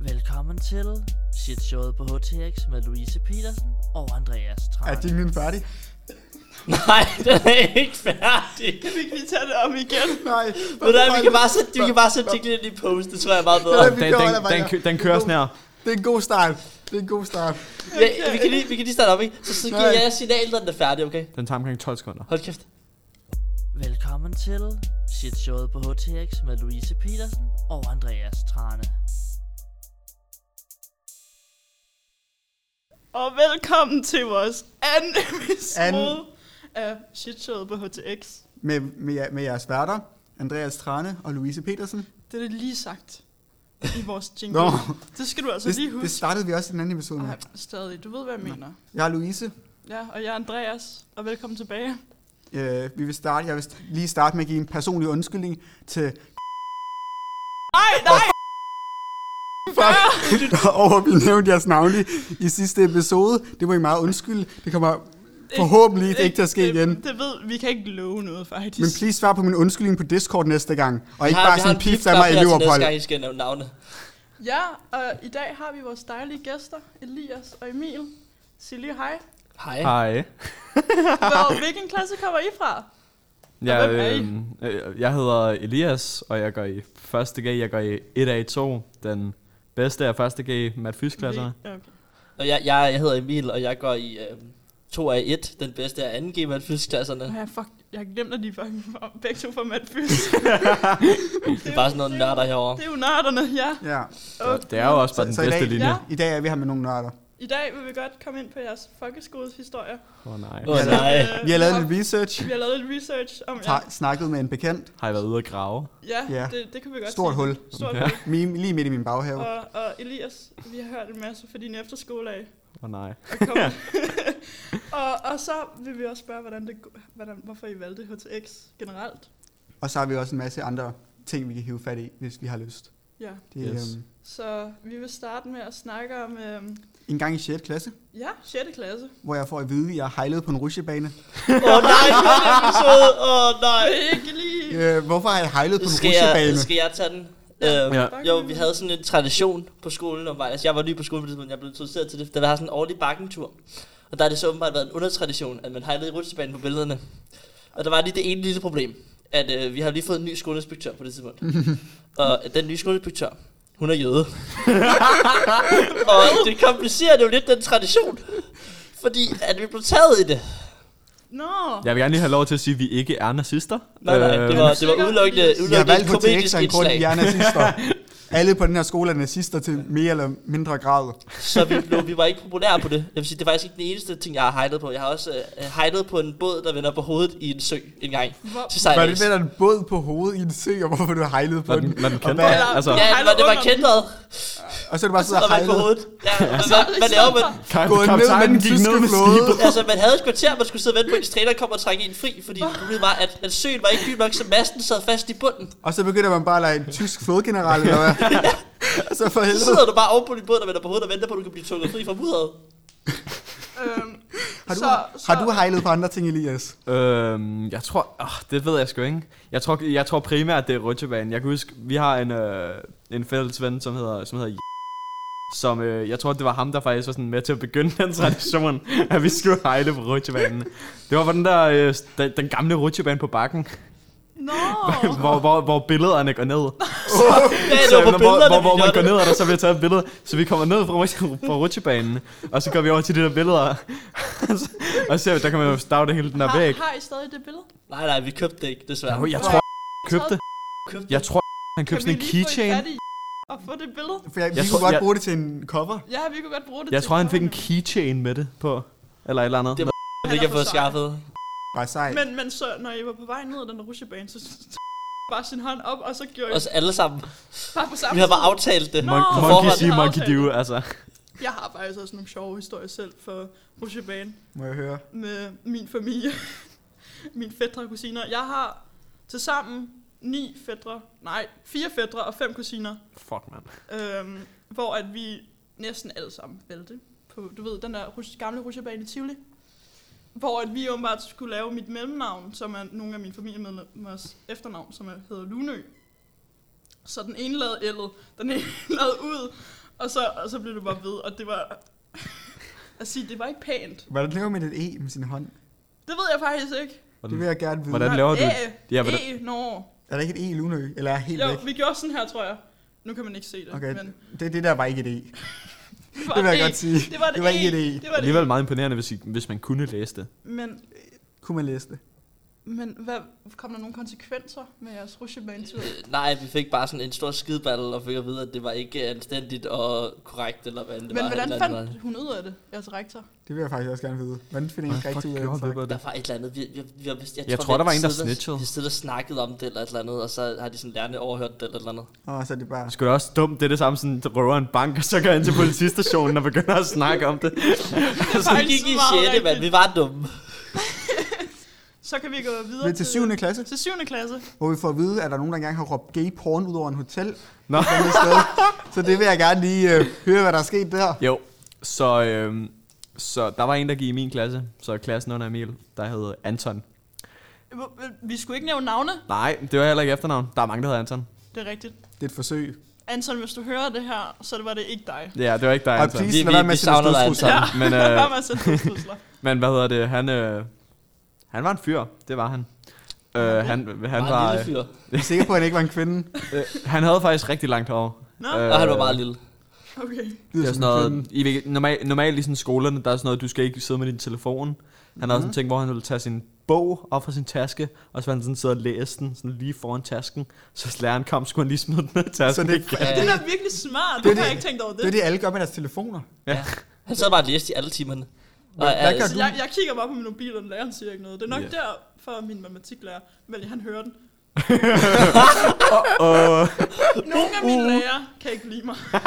Velkommen til showet på HTX med Louise Petersen og Andreas Tran. Er jinglen færdig? Nej, den er ikke færdig. Kan vi ikke lige tage det om igen? Nej. Ved du hvad, vi kan bare sætte, vi kan bare sætte jinglen ind i post, det tror jeg er meget bedre. Ja, Den, den, den, kø- den kører sådan her. Det er en god start. Det er en god start. Ja, vi, kan lige, vi kan lige starte op, ikke? Så, så giver Nej. jeg signal, når den er færdig, okay? Den tager omkring 12 sekunder. Hold kæft. Velkommen til showet på HTX med Louise Petersen og Andreas Trane. Og velkommen til vores anden episode Anden. af shitshowet på HTX. Med, med, jer- med jeres værter, Andreas Trane og Louise Petersen. Det er det lige sagt i vores jingle. Nå, Det skal du altså det, lige det huske. startede vi også i den anden episode med. Ej, stadig. Du ved, hvad jeg mener. Jeg er Louise. Ja, og jeg er Andreas, og velkommen tilbage. Øh, vi vil starte, jeg vil st- lige starte med at give en personlig undskyldning til Nej, nej! over, at vi nævnte jeres navn i, i sidste episode. Det må I meget undskylde. Det kommer forhåbentlig ikke til at ske det, igen. Det, det ved vi. kan ikke love noget, faktisk. Men please svar på min undskyldning på Discord næste gang. Og Vi ikke har- bare vi har sådan en pif af pip-flap mig i her til Liverpool. Næste gang, I skal nævne navne. Ja, og i dag har vi vores dejlige gæster, Elias og Emil. Sig lige hej. Hej. Hej. Hvor, hvilken klasse kommer I fra? Jeg, hvem er I? øh, øh, jeg hedder Elias, og jeg går i 1. G. Jeg går i 1A2. Den bedste af 1. G mat fysisk klasserne. Vi- Okay. Og jeg, jeg, jeg hedder Emil, og jeg går i øh, 2 af 1, den bedste af 2G med fysikklasserne. Ja, fuck, jeg har glemt, at de fucking var begge to fra Madfys. Det er bare sådan nogle nørder herovre. Det er jo nørderne, ja. Ja. Og Det er jo også bare den Så i bedste dag, linje. Ja. i dag er vi her med nogle nørder. i dag vil vi godt komme ind på jeres folkeskoles historie. Åh oh, nej. Åh oh, nej. Øh, Vi har lavet lidt vi research. har lavet lidt research om jer. Ta- snakket med en bekendt. Har jeg været ude at grave? Ja, Ja. det, det kan vi godt Stort sige. hul. Stort Ja. hul. Min, lige midt i min baghave. Og, og Elias, vi har hørt en masse fra din efterskole af. Åh oh, nej. Og, kom. og, og så vil vi også spørge, hvordan det, go- hvordan, hvorfor I valgte HTX generelt. Og så har vi også en masse andre ting, vi kan hive fat i, hvis vi har lyst. Ja, Det, Yes. yes. øhm, så vi vil starte med at snakke om, øhm, en gang i 6. klasse, ja, 6. klasse. hvor jeg får at vide, at jeg har hejlet på en rutsjebane. Åh oh, nej, den episode. Åh oh, nej. Vil I ikke lige... Øh, hvorfor har jeg hejlet på en Skal jeg, rutsjebane? skal jeg tage den? Ja. Øhm, Ja. Jo, vi havde sådan en tradition på skolen om Altså, jeg var ny på skolen på det tidspunkt, jeg blev introduceret til det, da der var sådan en årlig bakkentur. Og der har det så åbenbart været en undertradition, at man hejlede i rutsjebanen på billederne. Og der var lige det ene lille problem, at øh, vi har lige fået en ny skoleinspektør på det tidspunkt. og øh, den nye skoleinspektør, hun er jøde. og det komplicerer det jo lidt den tradition. Fordi at vi blev taget i det. Nå! Jeg vil gerne lige have lov til at sige, at vi ikke er nazister. Øh, Nej, nej, det var, det var sikkert, udelukkende, Elias. Øh. Jeg har udelukkende valgt et på komedisk TX af en grund, indslag. jeg er nazister. Alle på den her skole er nazister til mere eller mindre grad. Så vi, blev, vi var ikke populære på det. Jeg vil sige, det er faktisk ikke den eneste ting, jeg har hejlet på. Jeg har også øh, hejlet på en båd, der vender på hovedet i en sø en gang. Hvor- Til Var det sejlads. med, at en båd på hovedet i en sø, og hvorfor du har hejlet på Når den, den? når den Og, kendte. hvad, Eller- Altså, Ja, det var, det var kendtret, og så er det bare der siddet og vandt på hejlet. hovedet. Ja, hvad, hvad, hvad laver man? kap- Gået ned med kaptajnen den gik tyske ned med flåde. skibet. Altså, man havde et kvarter, man skulle sidde og vente på, at ens træner kom og trække en fri, fordi problemet var, at, at søen var ikke dyb nok, så masten sad fast i bunden. Og så begynder man bare at lege en tysk flodgeneral, eller hvad? så for Så helvede. sidder du bare oven på din båd, der vender på hovedet og venter på, at du kan blive tukket fri fra mudderet. Øhm, Har du, så, har så, du hejlet på andre ting, Elias? Øhm, jeg tror, åh, det ved jeg sgu ikke. Jeg tror, jeg tror primært, det er rutsjebanen. Jeg kan huske, vi har en, øh, en fælles ven, som hedder, som hedder J- som øh, jeg tror, det var ham, der faktisk var sådan med til at begynde den tradition, at vi skulle hejle på rutsjebanen. Det var på den der, øh, s- den, den gamle rutsjebane på bakken, Nå! hvor, hvor, hvor billederne går ned. Ja, det var på når- billederne, hvor, hvor, hvor vi man går gjorde ned, det. og der så bliver taget et billede. Så vi kommer ned fra, rutsje- fra rutsjebanen, og så går vi over til de der billeder. og så- og så der kan man jo stagte hele den der væg. Har, har I stadig det billede? Nej, nej, vi købte det ikke, desværre. Jo, jeg tror, købte Købte Jeg tror, han købte sådan en keychain. Kan vi lige få og få det billede? For jeg, vi Jeg kunne tror- godt jeg- bruge det til en cover. Ja, vi kunne godt bruge det Jeg til tror, han fik en coverne. keychain med det på. Eller et eller andet. Det var- det, vi Han er kan for få sej. skaffet. Bare sej. Men, men så, når I var på vej ned ad den rutsjebane, så t- bare sin hånd op, og så gjorde Os alle sammen. I bare på samme Vi har bare tid. aftalt det. Nå, Mon- på monkey forhånd. see, monkey Aftale. do, altså. Jeg har faktisk også nogle sjove historier selv for rutsjebane Må jeg høre? med min familie. Mine fætter og kusiner. Jeg har til sammen ni fætter, nej, fire fætter og fem kusiner. Fuck, man. øhm, hvor at vi næsten alle sammen vælte på, du ved, den der rus- gamle rutsjebane i Tivoli, hvor at vi åbenbart skulle lave mit mellemnavn, som er nogle af mine familiemedlemmers efternavn, som er, hedder Lunø. Så den ene lavede L'et, den ene lavede ud, Og så, og så blev du bare ved, og det var... at sige, det var ikke pænt. Hvordan laver man et E med sin hånd? Det ved jeg faktisk ikke. Det vil Hvordan, jeg gerne vide. hvordan laver du Æ, Ja, ja, hvordan- æ, nå. Er der ikke et E i Lunø? Eller er jeg helt Jo, væk? vi gjorde sådan her, tror jeg. Nu kan man ikke se det, Okay, men... det, det der var ikke et E. var Det vil jeg et godt sige. Det var, et Det var æ. ikke et E. Det var alligevel det. meget imponerende, hvis, I, hvis man kunne læse det. Men, Kunne man læse det? men hvad, kom der nogle konsekvenser med jeres rusjebanetur? Øh, nej, vi fik bare sådan en stor skidebattle, og fik at vide, at det var ikke anstændigt og korrekt, eller hvad end det Men var. hvordan eller andet fandt hun ud af det, jeres rektor? Det vil jeg faktisk også gerne vide. Hvordan finder jeg rigtig ud af den slags? var- Der var et eller andet, vi, vi, vi, jeg, jeg, tror, der vi var en, der sidder- snitchede. Vi sidder og snakkede om det, eller et eller andet, og så har de sådan lærerne overhørt det, eller et eller andet. Og så er det bare... Skulle det også dumt, det er det samme, sådan der røver en bank, og så går han til politistationen og begynder at snakke om det. Det Så gik i 6. mand, vi var dumme. Så kan vi gå videre Ved til 7. klasse, Til 7. klasse. hvor vi får at vide, at der er nogen, der engang har råbt gay porn ud over en hotel. Nå. et andet sted. Så det vil jeg gerne lige øh, høre, hvad der er sket der. Jo, så, øhm, så der var en, der gik i min klasse, så klassen under Emil, der hed Anton. Vi skulle ikke nævne navne. Nej, det var heller ikke efternavn. Der er mange, der hedder Anton. Det er rigtigt. Det er et forsøg. Anton, hvis du hører det her, så var det ikke dig. Ja, det var ikke dig, Ej, Anton. please, Vi, lad vi, være med vi at sende savner dig, dødstrusler. Anton. Ja. Men, øh, Bare med at sende dødstrusler. Men hvad hedder det? Han, øh, han var en fyr, det var han. Øh, han, han, Han var, var en lille fyr, Jeg er sikker på, at han ikke var en kvinde. øh, han havde faktisk rigtig langt hår. Nå, Øh, og han var meget lille. okay. Lyder Det er som sådan en noget, kvinde. i, hvilket- normal, normalt i sådan skolerne, der er sådan noget, du skal ikke sidde med din telefon. Han havde sådan en ting, hvor han ville tage sin bog op fra sin taske, og så ville han sådan sidde og læse den sådan lige foran tasken. Så hvis læreren kom, skulle han lige smide den ned i tasken. Så det, igen. Altså, Det er da virkelig smart. Det er Det har det- jeg ikke tænkt over det. det er det, alle gør med deres telefoner. Han sad bare og læste i alle timerne. Og, Hvad altså, gør Så jeg, jeg kigger bare på min mobil, og læreren siger ikke noget. Det er nok Ja. yeah. derfor, min matematiklærer, men han hører den. Nogle af Uh. mine lærere kan ikke lide mig.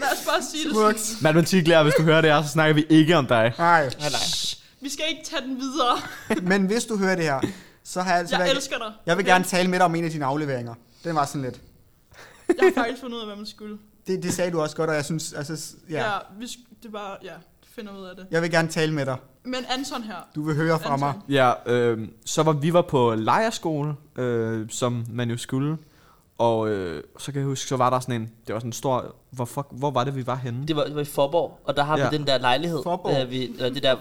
Lad os bare sige det sådan. Smukt. Matematiklærer, hvis du hører det her, så snakker vi ikke om dig. Nej, nej, nej. Vi skal ikke tage den videre. men hvis du hører det her, så har jeg altså... Jeg været- elsker dig. jeg vil gerne tale med dig om en af dine afleveringer. Den var sådan lidt. Jeg har faktisk fundet ud af, hvad man skulle. Det, det sagde du også godt, og jeg synes, altså, s- ja. Ja, vi sk- det er bare, ja, finder ud af det. Jeg vil gerne tale med dig. Men Anton her. Du vil høre fra mig. Anton. Ja, øh, så var vi var på lejerskole, øh, som man jo skulle. Og øh, så kan jeg huske, så var der sådan en, det var sådan en stor, hvor, fuck, hvor var det, vi var henne? Det var, det var i Forborg, og der har Ja. vi den der lejlighed. Forborg. Øh, vi, eller det der,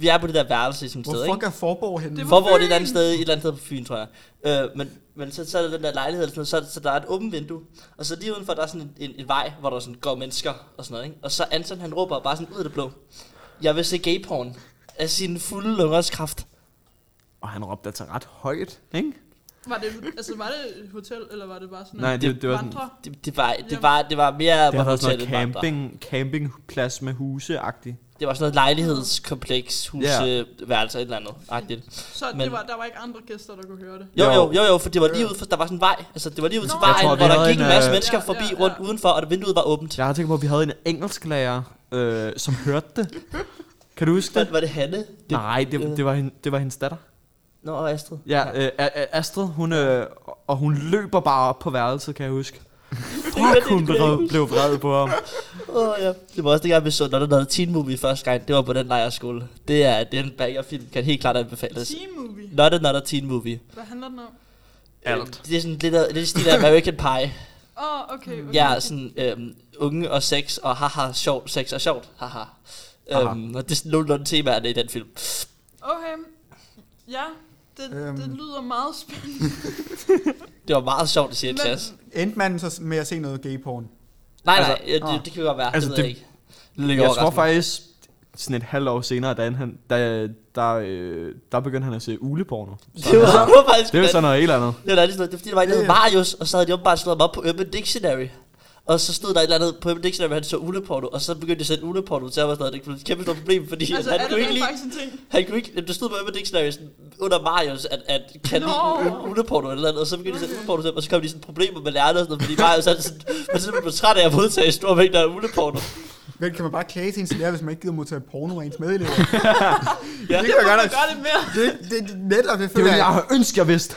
vi er på det der værelse i sådan et Hvor sted, fuck ikke? er Forborg henne? Det var- Forborg det er et Fyn? andet sted, et eller andet sted på Fyn, tror jeg. Øh, men, men så, så er der den der lejlighed, eller sådan noget, så, så der er et åbent vindue. Og så lige udenfor, der er sådan en, en, en vej, hvor der sådan går mennesker og sådan noget, ikke? Og så Anton, han råber bare sådan ud af det blå. Jeg vil se gayporn af sin fulde lungers kraft. Og han råbte altså ret højt, ikke? Var det, altså, var det et hotel, eller var det bare sådan Nej, det, det var sådan, vandre? Det, det, var, Jamen. det, var, det var mere... det var hvor sådan noget hotellet var der. camping, campingplads med huse-agtigt. Det var sådan noget lejlighedskompleks, Ja. huseværelse, et eller andet. Agtigt. Så det Men- var, der var ikke andre gæster, der kunne høre det. Jo, Jo. jo, jo, jo, for det var lige ud, for der var sådan en vej, altså det var lige ud til Nå. Jeg vejen, tror, vi hvor der havde gik en, en masse øh, mennesker Ja, forbi ja, ja. rundt udenfor, og vinduet var åbent. Jeg har tænkt på, at vi havde en engelsklærer, øh, som hørte det. Kan du huske Var, det? var det Hanne? Det, Nej, det, øh, det, var, hende, det var hendes datter. Nå, og Astrid. Ja, øh, A- A- Astrid, hun, øh, og hun løber bare op på værelset, kan jeg huske. var Fuck, hun det blev, virkelig. blev vred på ham. Åh, ja. Det var også dengang, vi så, når der lavede Teen Movie første gang, det var på den lejerskole. Det er, det er en banger-film, kan helt klart Altså- anbefales. Team movie. Not another Teen Movie. Hvad handler den om? Alt. Det er sådan lidt, af, lidt i stil af American Pie. Åh, oh, okay, okay. Ja, sådan øhm, unge og sex, og haha, sjovt, sex og sjovt, haha. Aha. Øhm, og det er sådan nogenlunde temaerne i den film. Okay. Ja, det, Øhm. øhm. det lyder meget spændende. Altså, Det var meget sjovt i 6. Men- klasse. Endte man så s- med at se noget gay porn? Nej, Altså, altså, nej, ja, ah. det, det kan godt være, altså, Altså, det ved jeg det- ikke. Det ligger Jeg tror overraskende. faktisk, sådan et halvt år senere, da han, da, der, øh, der begyndte han at se uleporno. Det var, det var faktisk Det er jo sådan noget helt andet. Det var, det, det var fordi, der var en, der hed Ja, ja. Marius, og så havde de åbenbart slået ham op på Urban Dictionary. Og så stod der et eller andet på Urban Dictionary, han så uleporno, og så begyndte de at sende uleporno til ham, og sådan noget. det var et kæmpe stort problem, fordi altså, altså, er han, det kunne ikke rent lide, faktisk en ting? han kunne ikke, det stod på Urban Dictionary sådan, under Marius, at, at kan lide Nå. u- u- uleporno eller andet, og så begyndte de at sende uleporno til ham, og så kom de sådan problemer med lærerne, og sådan, noget, fordi Marius han sådan, man simpelthen blev træt af at modtage store mængder af uleporno. Vel, kan man bare klage til ens lærer, hvis man ikke gider modtage porno af ens medelever? Ja, det kan jeg Kan godt man nok. gøre det mere? Det, det, det, netop det føler jeg. har ønsket, jeg vidste.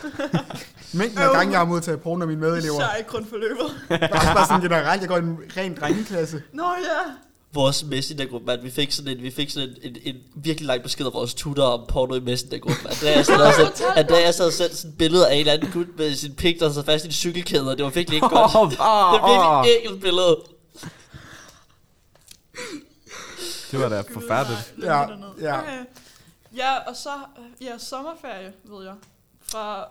Mængden af gange, jeg har modtaget porno af mine medelever. Især ikke kun forløbet. Bare, bare sådan generelt, jeg går i en ren drengeklasse. Nå ja. vores Messenger-gruppe, at vi fik sådan en, vi fik sådan en, en, en virkelig lang besked af vores tutor om porno i Messenger-gruppen. Andreas havde sendt, Andreas havde sendt sådan et billede af en eller anden gut med sin pik, der sad fast i en cykelkæde, og det var virkelig ikke godt. Åh, Det er åh, åh. virkelig et enkelt billede. Det var da forfærdeligt. Gud, nej, Ja, læg mig derned. ja. Okay. Ja, og så øh, ja, sommerferie, ved jeg. Fra,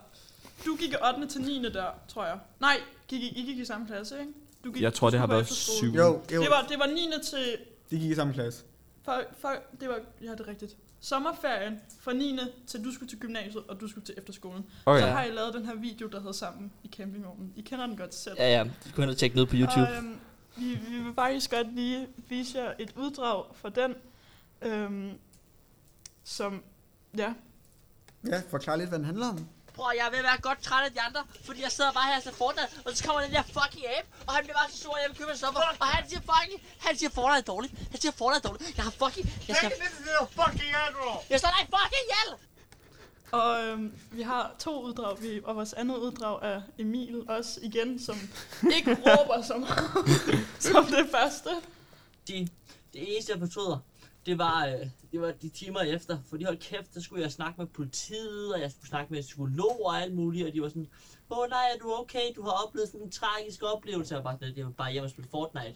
du gik i 8. til 9. der, tror jeg. Nej, gik, I I gik i samme klasse, ikke? Du gik, Jeg tror, du det har skulle på været efterskole. syv. Jo, jo. Mm. Det var, det var 9. til... De gik i samme klasse. For, for, det var, ja, det er rigtigt. Sommerferien fra 9. til du skulle til gymnasiet, og du skulle til efterskolen. Okay. Så har jeg lavet den her video, der hedder Sammen i campingvognen. I kender den godt selv. Ja, ja. Du kunne have tjekket noget på YouTube. Og, øhm, vi, vi vil faktisk godt lige vise jer et uddrag fra den, øhm, som, ja, Ja, forklar lidt, hvad den handler om. Bror, jeg er ved at være godt træt af de andre, fordi jeg sidder bare her og ser Fortnite, og så kommer den der fucking abe, og han bliver bare så sur, at jeg vil købe en stopper, og han siger fucking, han siger Fortnite er dårligt, han siger Fortnite er dårligt, jeg har fucking, jeg skal... Jeg slår dig fucking ihjel! og øhm, vi har to uddrag, vi, og vores andet uddrag er Emil også igen, som ikke råber så meget som det første. de, det eneste, jeg fortryder, det var, øh, det var de timer efter. Fordi hold kæft, der skulle jeg snakke med politiet, og jeg skulle snakke med en psykolog og alt muligt. Og de var sådan, åh nej, er du okay? Du har oplevet sådan en tragisk oplevelse. Jeg var bare sådan, jeg var bare hjemme og spille Fortnite. Jeg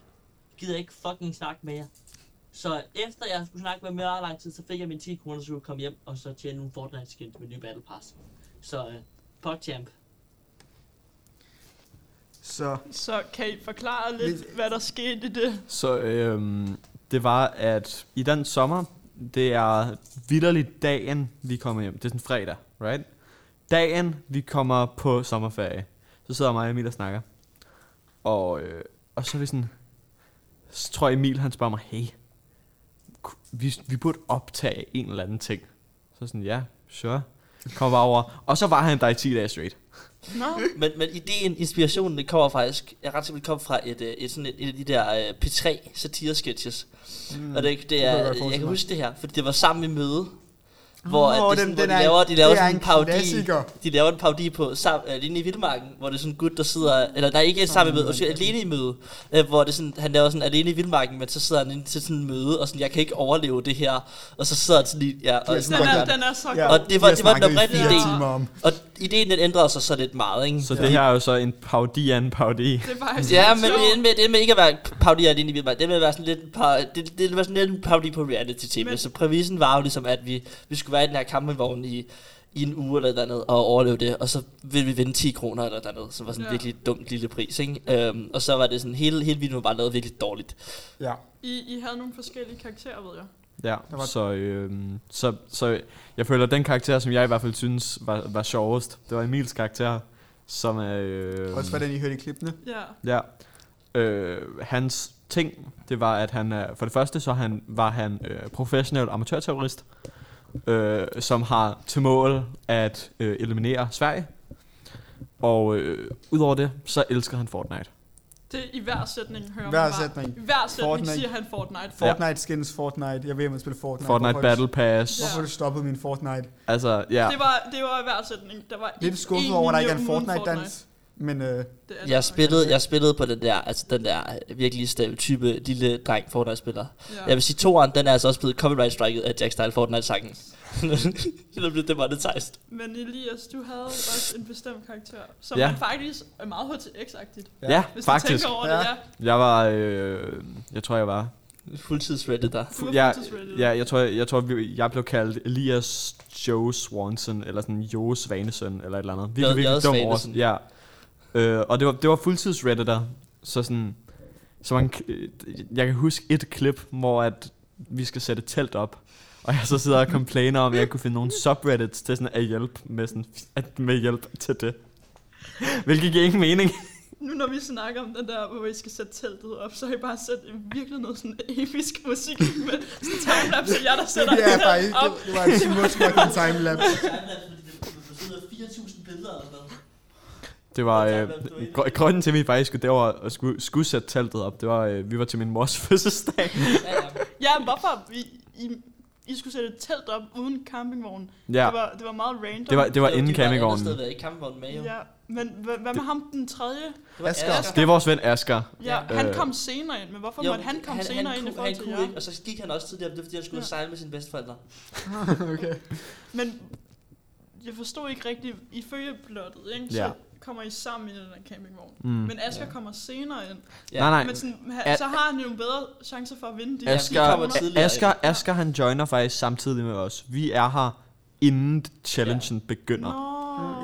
gider ikke fucking snakke med jer. Så efter jeg skulle snakke med dem i meget lang tid, så fik jeg min 10 kroner, så jeg kunne komme hjem og så tjene nogle Fortnite skins med nye Battle Pass. Så øh, PogChamp. Så Så kan I forklare lidt, Lidt- hvad der skete i det? Så øhm, det var, at i den sommer, det er vidderligt dagen, vi kommer hjem. Det er sådan fredag, right? Dagen, vi kommer på sommerferie. Så sidder mig og Emil og snakker. Og, øh, og så er vi sådan... Så tror jeg, Emil, han spørger mig, hey, ku- vi, vi burde optage en eller anden ting. Så sådan, ja, sure. Kom bare over. Og så var han der i 10 dage straight. Nå, Men, men ideen, inspirationen, det kommer faktisk, jeg er ret simpelthen kom fra et, øh, et, sådan et, et af de der øh, P3 satiresketches. Mm, og det, det jeg godt er, jeg, forestille kan mig. huske det her, fordi det var sammen i møde, hvor, Åh, oh, at det, er den- den sådan, hvor er- de laver, de laver det er sådan en en parodi, klassiker. de laver en parodi på sam, øh, inde i Vildmarken, hvor det er sådan en gut, der sidder, eller der er ikke sammen i møde, undskyld, alene i møde, øh, hvor det er sådan, han laver sådan alene i Vildmarken, men så sidder han inde til sådan en møde, og sådan, jeg kan ikke overleve det her, og så sidder han sådan lige, ja, og, er den sådan, sådan- er, den er så ja, god. Og det var- vi har det var den snakket i oprindelige fire idé. timer om. og ideen den ændrede sig så lidt meget, ikke? Så det her er jo så en parodi af en parodi. Det er faktisk Ja, lidt men sjovt. det med, det med ikke at være parodier alene i Vildmark, det med at være sådan lidt en par, det, det var sådan lidt en parodi på reality-tv. Men- Så præmissen var jo ligesom, at vi, vi skulle være i den her campingvogn i, i en uge eller et eller andet, og overleve det, og så ville vi vinde 10 kroner eller et eller andet, som var sådan en Ja. virkelig dum lille pris, ikke? Øhm, og så var det sådan, hele, hele videoen var bare lavet virkelig dårligt. Ja, I, I havde nogle forskellige karakterer, ved jeg. Ja, Der var- så, øh, så, så jeg føler, at den karakter, som jeg i hvert fald synes var, var sjovest, det var Emils karakter, som er... Øh, også hvordan I hørte i klippene. Ja. Ja. Øh, hans ting, det var, at han er, for det første så han, var han øh, professionel amatørterrorist, øh, som har til mål at øh, eliminere Sverige. Og øh, udover det, så elsker han Fortnite. Det i hver sætning hører Hver man bare. sætning. I hver sætning Fortnite. siger han Fortnite. For, Fortnite skins Fortnite. Jeg ved, at man spiller Fortnite. Fortnite Hvorfor har du- Battle Pass. Hvorfor har du stoppet min Fortnite? Altså, ja. det, var, det var i hver sætning. Der var Lidt ikke skuffet én over, at der linje ikke er en uden Fortnite-dans. Men øh, Det er det Jeg nok. spillede, jeg spillede på den der, altså den der virkelig stereotype lille dreng Fortnite-spiller. Ja. Jeg vil sige, toeren, den er altså også blevet copyright-striket af Jack Style Fortnite-sangen. det blev det monetized. Men Elias, du havde også en bestemt karakter, som Ja. ja. faktisk er meget HTX-agtigt. Ja, Ja. ja Hvis du faktisk. tænker over Ja. det, ja. Jeg var, øh, jeg tror, jeg var Fuldtids der. Du er Ja, fuldtidsrated. ja, jeg tror, jeg, jeg, tror, vi- jeg blev kaldt Elias Joe Swanson, eller sådan Joe Svanesøn, eller et eller andet. Virkelig, J. virkelig dum over. Svanesøn. Ja. Øh, og det var, det var fuldtidsredditor, så sådan, så man, k- øh, jeg kan huske et klip, hvor at vi skal sætte et telt op, og jeg så sidder og complainer om, at jeg kunne finde nogle subreddits til sådan at hjælpe med, sådan, at med hjælp til det. Hvilket giver ingen mening. Nu når vi snakker om den der, hvor I skal sætte teltet op, så har I bare sat virkelig noget sådan episk musik med sådan timelapse, og jeg der det, sætter det er teltet faktisk, det, op. det var en smuk fucking timelapse. Det var øh, gr- grunden til, at vi faktisk skulle derover og skulle, skulle sætte teltet op. Det var, øh, vi var til min mors fødselsdag. Ja, hvorfor I, I, I skulle sætte et telt op uden campingvogn? Ja, Det, var, det var meget random. det var, det var inden Det var et andet campingvognen. sted, der er ikke campingvognen med, jo. Ja, Men hvad, hvad med ham den tredje? Det var Asger. Asger. Det er vores ven Asger. Ja, Ja. han Øh. kom senere ind, men hvorfor Jo, måtte han komme senere ind i kunne- forhold han til kunne jer? ikke, og så gik han også tidligere, men det er fordi, han skulle ja. Ja. sejle med sine bedsteforældre. okay. Men jeg forstod ikke rigtigt, I følger plottet, ikke? Så Ja. kommer I sammen i den der campingvogn. Mm. Men Asger ja. kommer senere ind. Ja. Nej, nej. Men sådan, Al- ha, så har han jo en bedre chance for at vinde Asger, de her vi fire kommer kroner. tidligt. tidligere Asger, Asger, han joiner faktisk samtidig med os. Vi er her, inden challengen begynder. Nå.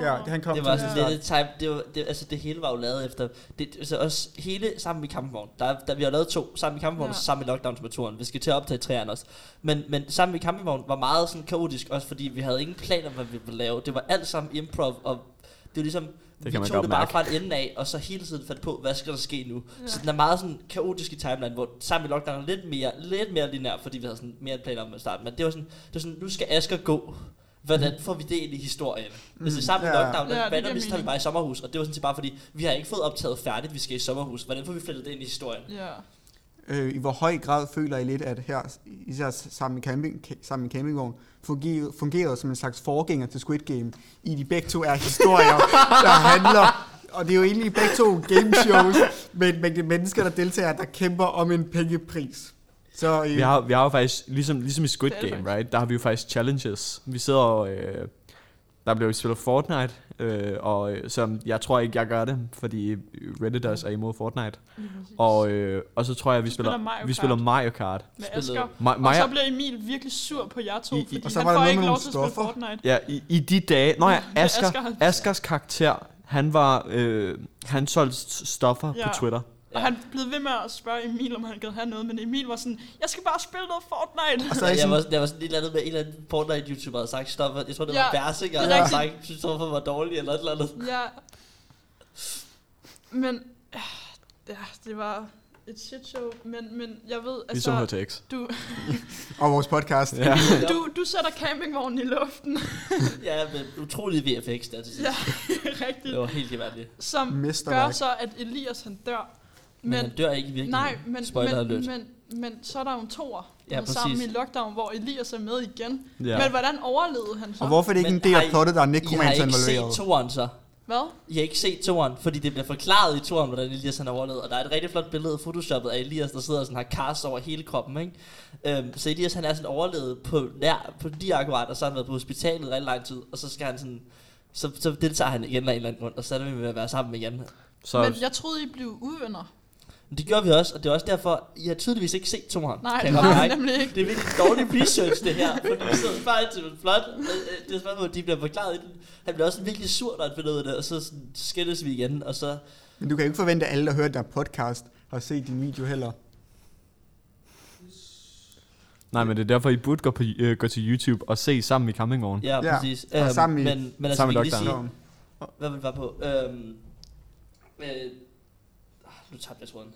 Ja, han kom Det var til sådan det. lidt et time, det, var, det, altså det hele var jo lavet efter, det, altså også hele sammen i kampvogn, der, der vi har lavet to, sammen i kampvogn Ja. ja. og sammen i lockdown til turen. vi skal til at optage træerne også, men, men sammen i kampvogn var meget sådan kaotisk også, fordi vi havde ingen planer, hvad vi ville lave, det var alt sammen improv, og det var ligesom, kan vi man tog godt det bare mærke. fra den ende af, og så hele tiden fandt på, hvad skal der ske nu, ja. så den er meget sådan kaotisk i timeline, hvor sammen i lockdown er lidt mere, lidt mere linær, fordi vi havde sådan mere en plan om at starte, men det var sådan, det var sådan nu skal Asger gå, Hvordan får vi det ind i historien? Hvis det er sammen i ja. lockdown, Ja, det Ja, giver randomly tager vi mening. bare i sommerhus, og det var sådan set bare fordi, vi har ikke fået optaget færdigt, vi skal i sommerhus. Hvordan får vi flettet det ind i historien? Ja. Øh, I hvor høj grad føler I lidt, at her, især sammen i, camping, ca- sammen i campingvogn, fungerer, fungerer som en slags forgænger til Squid Game, i de begge to er historier, der handler, og det er jo egentlig begge to game shows, men, men det er mennesker, der deltager, der kæmper om en pengepris. Så øh, Vi har, vi har jo faktisk, ligesom, ligesom i Squid Det er det Game, faktisk. right, der har vi jo faktisk challenges. Vi sidder og, øh, der blev spillet Fortnite, øh, og øh, som jeg tror ikke, jeg gør det, fordi Redditors er altså imod Fortnite. Og, øh, og så tror jeg, vi spiller, spiller Mario vi spiller Kart. Mario Kart. Med Spillede- Asger. Ma- Og Maja, så bliver Emil virkelig sur på jer to, I- I- fordi Og så han var der får noget ikke med lov nogle til at spille stoffer. Fortnite. ja, i, i de dage, nå ja, Med Asger, Asger. Askers karakter, han var, øh, han solgte s- stoffer Ja. på Twitter. Og han blev ved med at spørge Emil, om han gad have noget, men Emil var sådan, jeg skal bare spille noget Fortnite. og så Så er I jeg, sådan, var, jeg var sådan et eller andet med en eller anden Fortnite YouTuber havde sagt, stop, jeg tror det Ja, var Bersinger, det er der havde rigtigt. sagt, synes Stoffer var dårlig eller et eller andet. Ja. Men, øh, ja, det var et shit show, men, men jeg ved, Vi så altså, HTX. du, og vores podcast. Ja. du, du sætter campingvognen i luften, Ja, men utrolig VFX der til sidst. Ja. Ja. rigtigt, Det var helt gevaldigt. som gør Mesterværk. så, at Elias han dør. Men, men Men, han dør ikke virkelig. nej, men, Spoiler men, alert. men, men, så er der jo en toer, Ja, der er sammen i præcis. lockdown, hvor Elias er med igen. Ja. Men hvordan overlevede han så? Og hvorfor er det ikke Men en del har af I- plottet, der er I har nekromancer ikke set involveret? toeren så. Hvad? I har ikke set toeren, fordi det bliver forklaret i toeren, hvordan Elias han overlevede. Og der er et rigtig flot billede af photoshoppet af Elias, der sidder og sådan har cast over hele kroppen. Ikke? Øhm, så Elias han er sådan overlevet på, nær, på lige akkurat, og så har han været på hospitalet rigtig lang tid. Og så skal han sådan... Så, så deltager han igen af en eller anden grund, og så er vi med at være sammen igen. Så Men jeg troede, I blev uvenner. Men det gjorde vi også, og det er også derfor, I har tydeligvis ikke set toeren. Nej, kan det jeg har godt jeg mærke. nemlig ikke. Det er virkelig dårlig research, det her. Fordi vi sidder bare til et flot. øh, øh, Det er spørgsmål, de bliver forklaret i den. Han bliver også virkelig sur, når han finder ud af det, og så sådan skændes vi igen, og så Men du kan jo ikke forvente, at alle, der hører den her podcast, har set din video heller. Nej, men det er derfor, I burde gå, på, øh, gå til YouTube og se sammen i campingvognen. Ja, Ja, ja præcis. og sammen i- men, men altså, sammen i vi kan lige lockdown. sige, hvad vi var på. Øhm, øh, ah, nu tabte jeg tråden.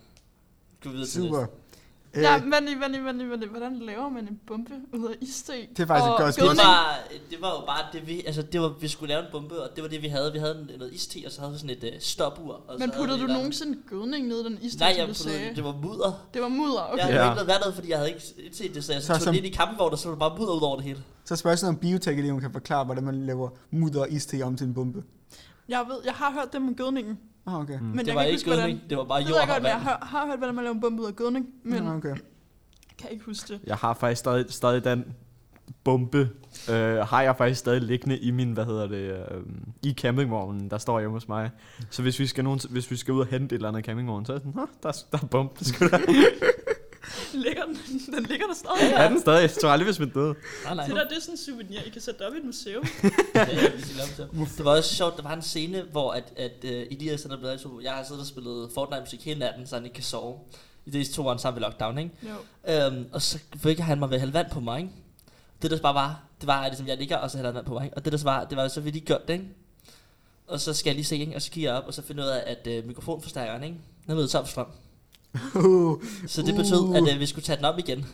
Gå videre til Super. næste. Øh, Ja, vent lige, vent lige, vent lige, vent lige. Hvordan laver man en bombe ud af iste? Det er faktisk et og godt Det spørgsmål. gødning? var, det var jo bare det, vi, altså, det var, vi skulle lave en bombe, og det var det, vi havde. Vi havde en- noget iste, og så havde vi sådan et uh, stopur. Og Men så puttede havde du vi- nogensinde gødning ned i den iste, Nej, som jeg du puttede, sagde? det var mudder. Det var mudder, Okay. okay. Jeg Ja. havde ikke lavet vandet, fordi jeg havde ikke set det, så jeg Så så, tog som- det ind i kampvogn, og så var det bare mudder ud over det hele. Så spørgsmålet om biotekeleven kan forklare, hvordan man laver mudder og iste om til en bombe. Jeg ved, jeg har hørt det med gødningen, Ah, okay. men jeg Mm, det kan var ikke ikke huske, hvordan... gødning, det var bare Jeg jord ved jeg godt, og men jeg vand. har, har hørt, hvordan man laver en bombe ud af gødning, men Ah, okay. kan ikke huske det. Jeg har faktisk stadig, stadig den bombe, øh, har jeg faktisk stadig liggende i min, hvad hedder det, øh, i campingvognen, der står hjemme hos mig. Så hvis vi skal, nogen, hvis vi skal ud og hente et eller andet i campingvognen, så er jeg sådan, "Nå, der, er- der er bombe, sgu da. Ligger den, den ligger der stadig. Ja, den stadig, jeg tror aldrig, hvis man døde. Nej, nej. Det der, det er sådan en souvenir, I kan sætte op i et museum. Ja, vi skal lave dem til. det var også sjovt, der var en scene, hvor at, at uh, Elias han er blevet to. Jeg har siddet og spillet Fortnite-musik hele natten, så han ikke kan sove. I det to år sammen ved lockdown, ikke? Jo. Øhm, og så vækker han mig ved at hælde vand på mig, ikke? Det der så bare var, det var, at ligesom, jeg ligger, og så hælder han vand på mig, ikke? Og det der så var, det var, så vi lige gjort det, ikke? Og så skal jeg lige se, ikke? Og så kigger jeg op, og så finder jeg ud af, at øh, mikrofonforstærkeren, ikke? Den er nødt til strøm. Uh, Så det Uh. betød, at øh, vi skulle tage den op igen.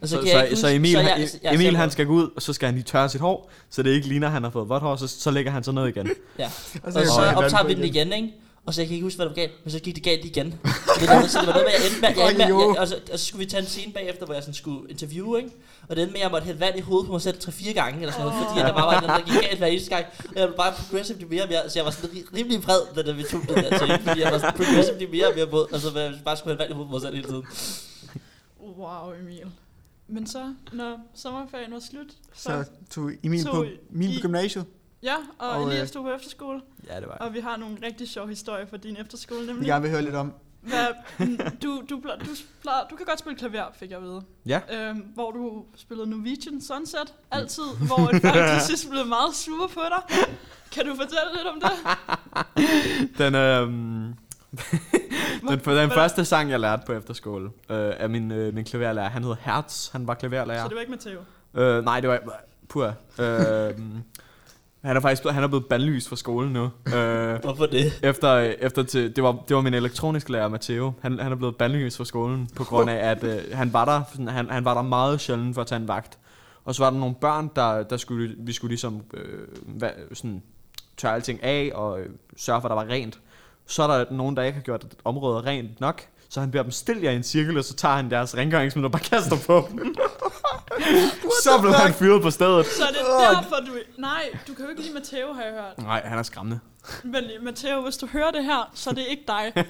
Og Så, kan jeg så, ikke så huske- Emil, jeg- han, jeg- jeg- Emil jeg- han skal gå ud, og så skal han lige tørre sit hår, så det ikke ligner, at han har fået vådt hår, så, så lægger han sig ned igen. Ja. og Og kan så man- optager vi den igen, ikke? Og så jeg kan ikke huske, hvad der var galt, men så gik det galt igen. Og det, der, så det var noget med, jeg endte med, jeg endte med jeg, og, så, og så skulle vi tage en scene bagefter, hvor jeg sådan skulle interviewe, ikke? Og det endte med, at jeg måtte hælde vand i hovedet på mig selv 3-4 gange, eller sådan noget, fordi at der bare var et eller andet, der gik galt hver eneste gang. Og jeg blev bare progressively mere og mere, så jeg var sådan ri- rimelig vred, da da vi tog den der scene, fordi jeg var sådan progressively mere og mere mod, og så var jeg bare skulle hælde vand i hovedet på mig selv hele tiden. Wow, Emil. Men så, når sommerferien var slut, så, Så tog Emil Så på, I- Emil på gymnasiet. ja, og, Og, og øh, Elias tog på efterskole, Ja, det var jeg. og vi har nogle rigtig sjove historier fra din efterskole, Jeg vil nemlig. gerne vil høre lidt om. Hvad, du, du, pla- du, pla- du kan godt spille klaver, fik jeg at vide. Ja. Mm. Øhm, hvor du spillede Norwegian Sunset, altid, hvor at folk til sidst blev meget sure på dig. Kan du fortælle lidt om det? Den, øhm, den, for den første sang, jeg lærte på efterskole, øh, af min, øh, min klaverlærer, han hed Hertz, han var klaverlærer. Så det var ikke Matteo. Øh, nej, det var pur. Øh, han er faktisk blevet- han er blevet bandlyst fra skolen nu. Øh, Hvorfor det? efter, øh, efter til, det, var, det var min elektroniske lærer, Matteo. Han, han er blevet bandlyst fra skolen, på grund af, at øh, han, var der, sådan, han, han var der meget sjældent for at tage en vagt. Og så var der nogle børn, der, der skulle, vi skulle ligesom øh, hvad, sådan, tørre alting af og øh, sørge for, at der var rent. Så er der nogen, der ikke har gjort området rent nok, så han beder dem stille jer i en cirkel, og så tager han deres rengøringsmiddel og bare kaster på dem. så blev han fyret på stedet. Så er det derfor, du... Nej, du kan jo ikke lide Matteo, har jeg hørt. Nej, han er skræmmende. Men Matteo, hvis du hører det her, så er det ikke dig.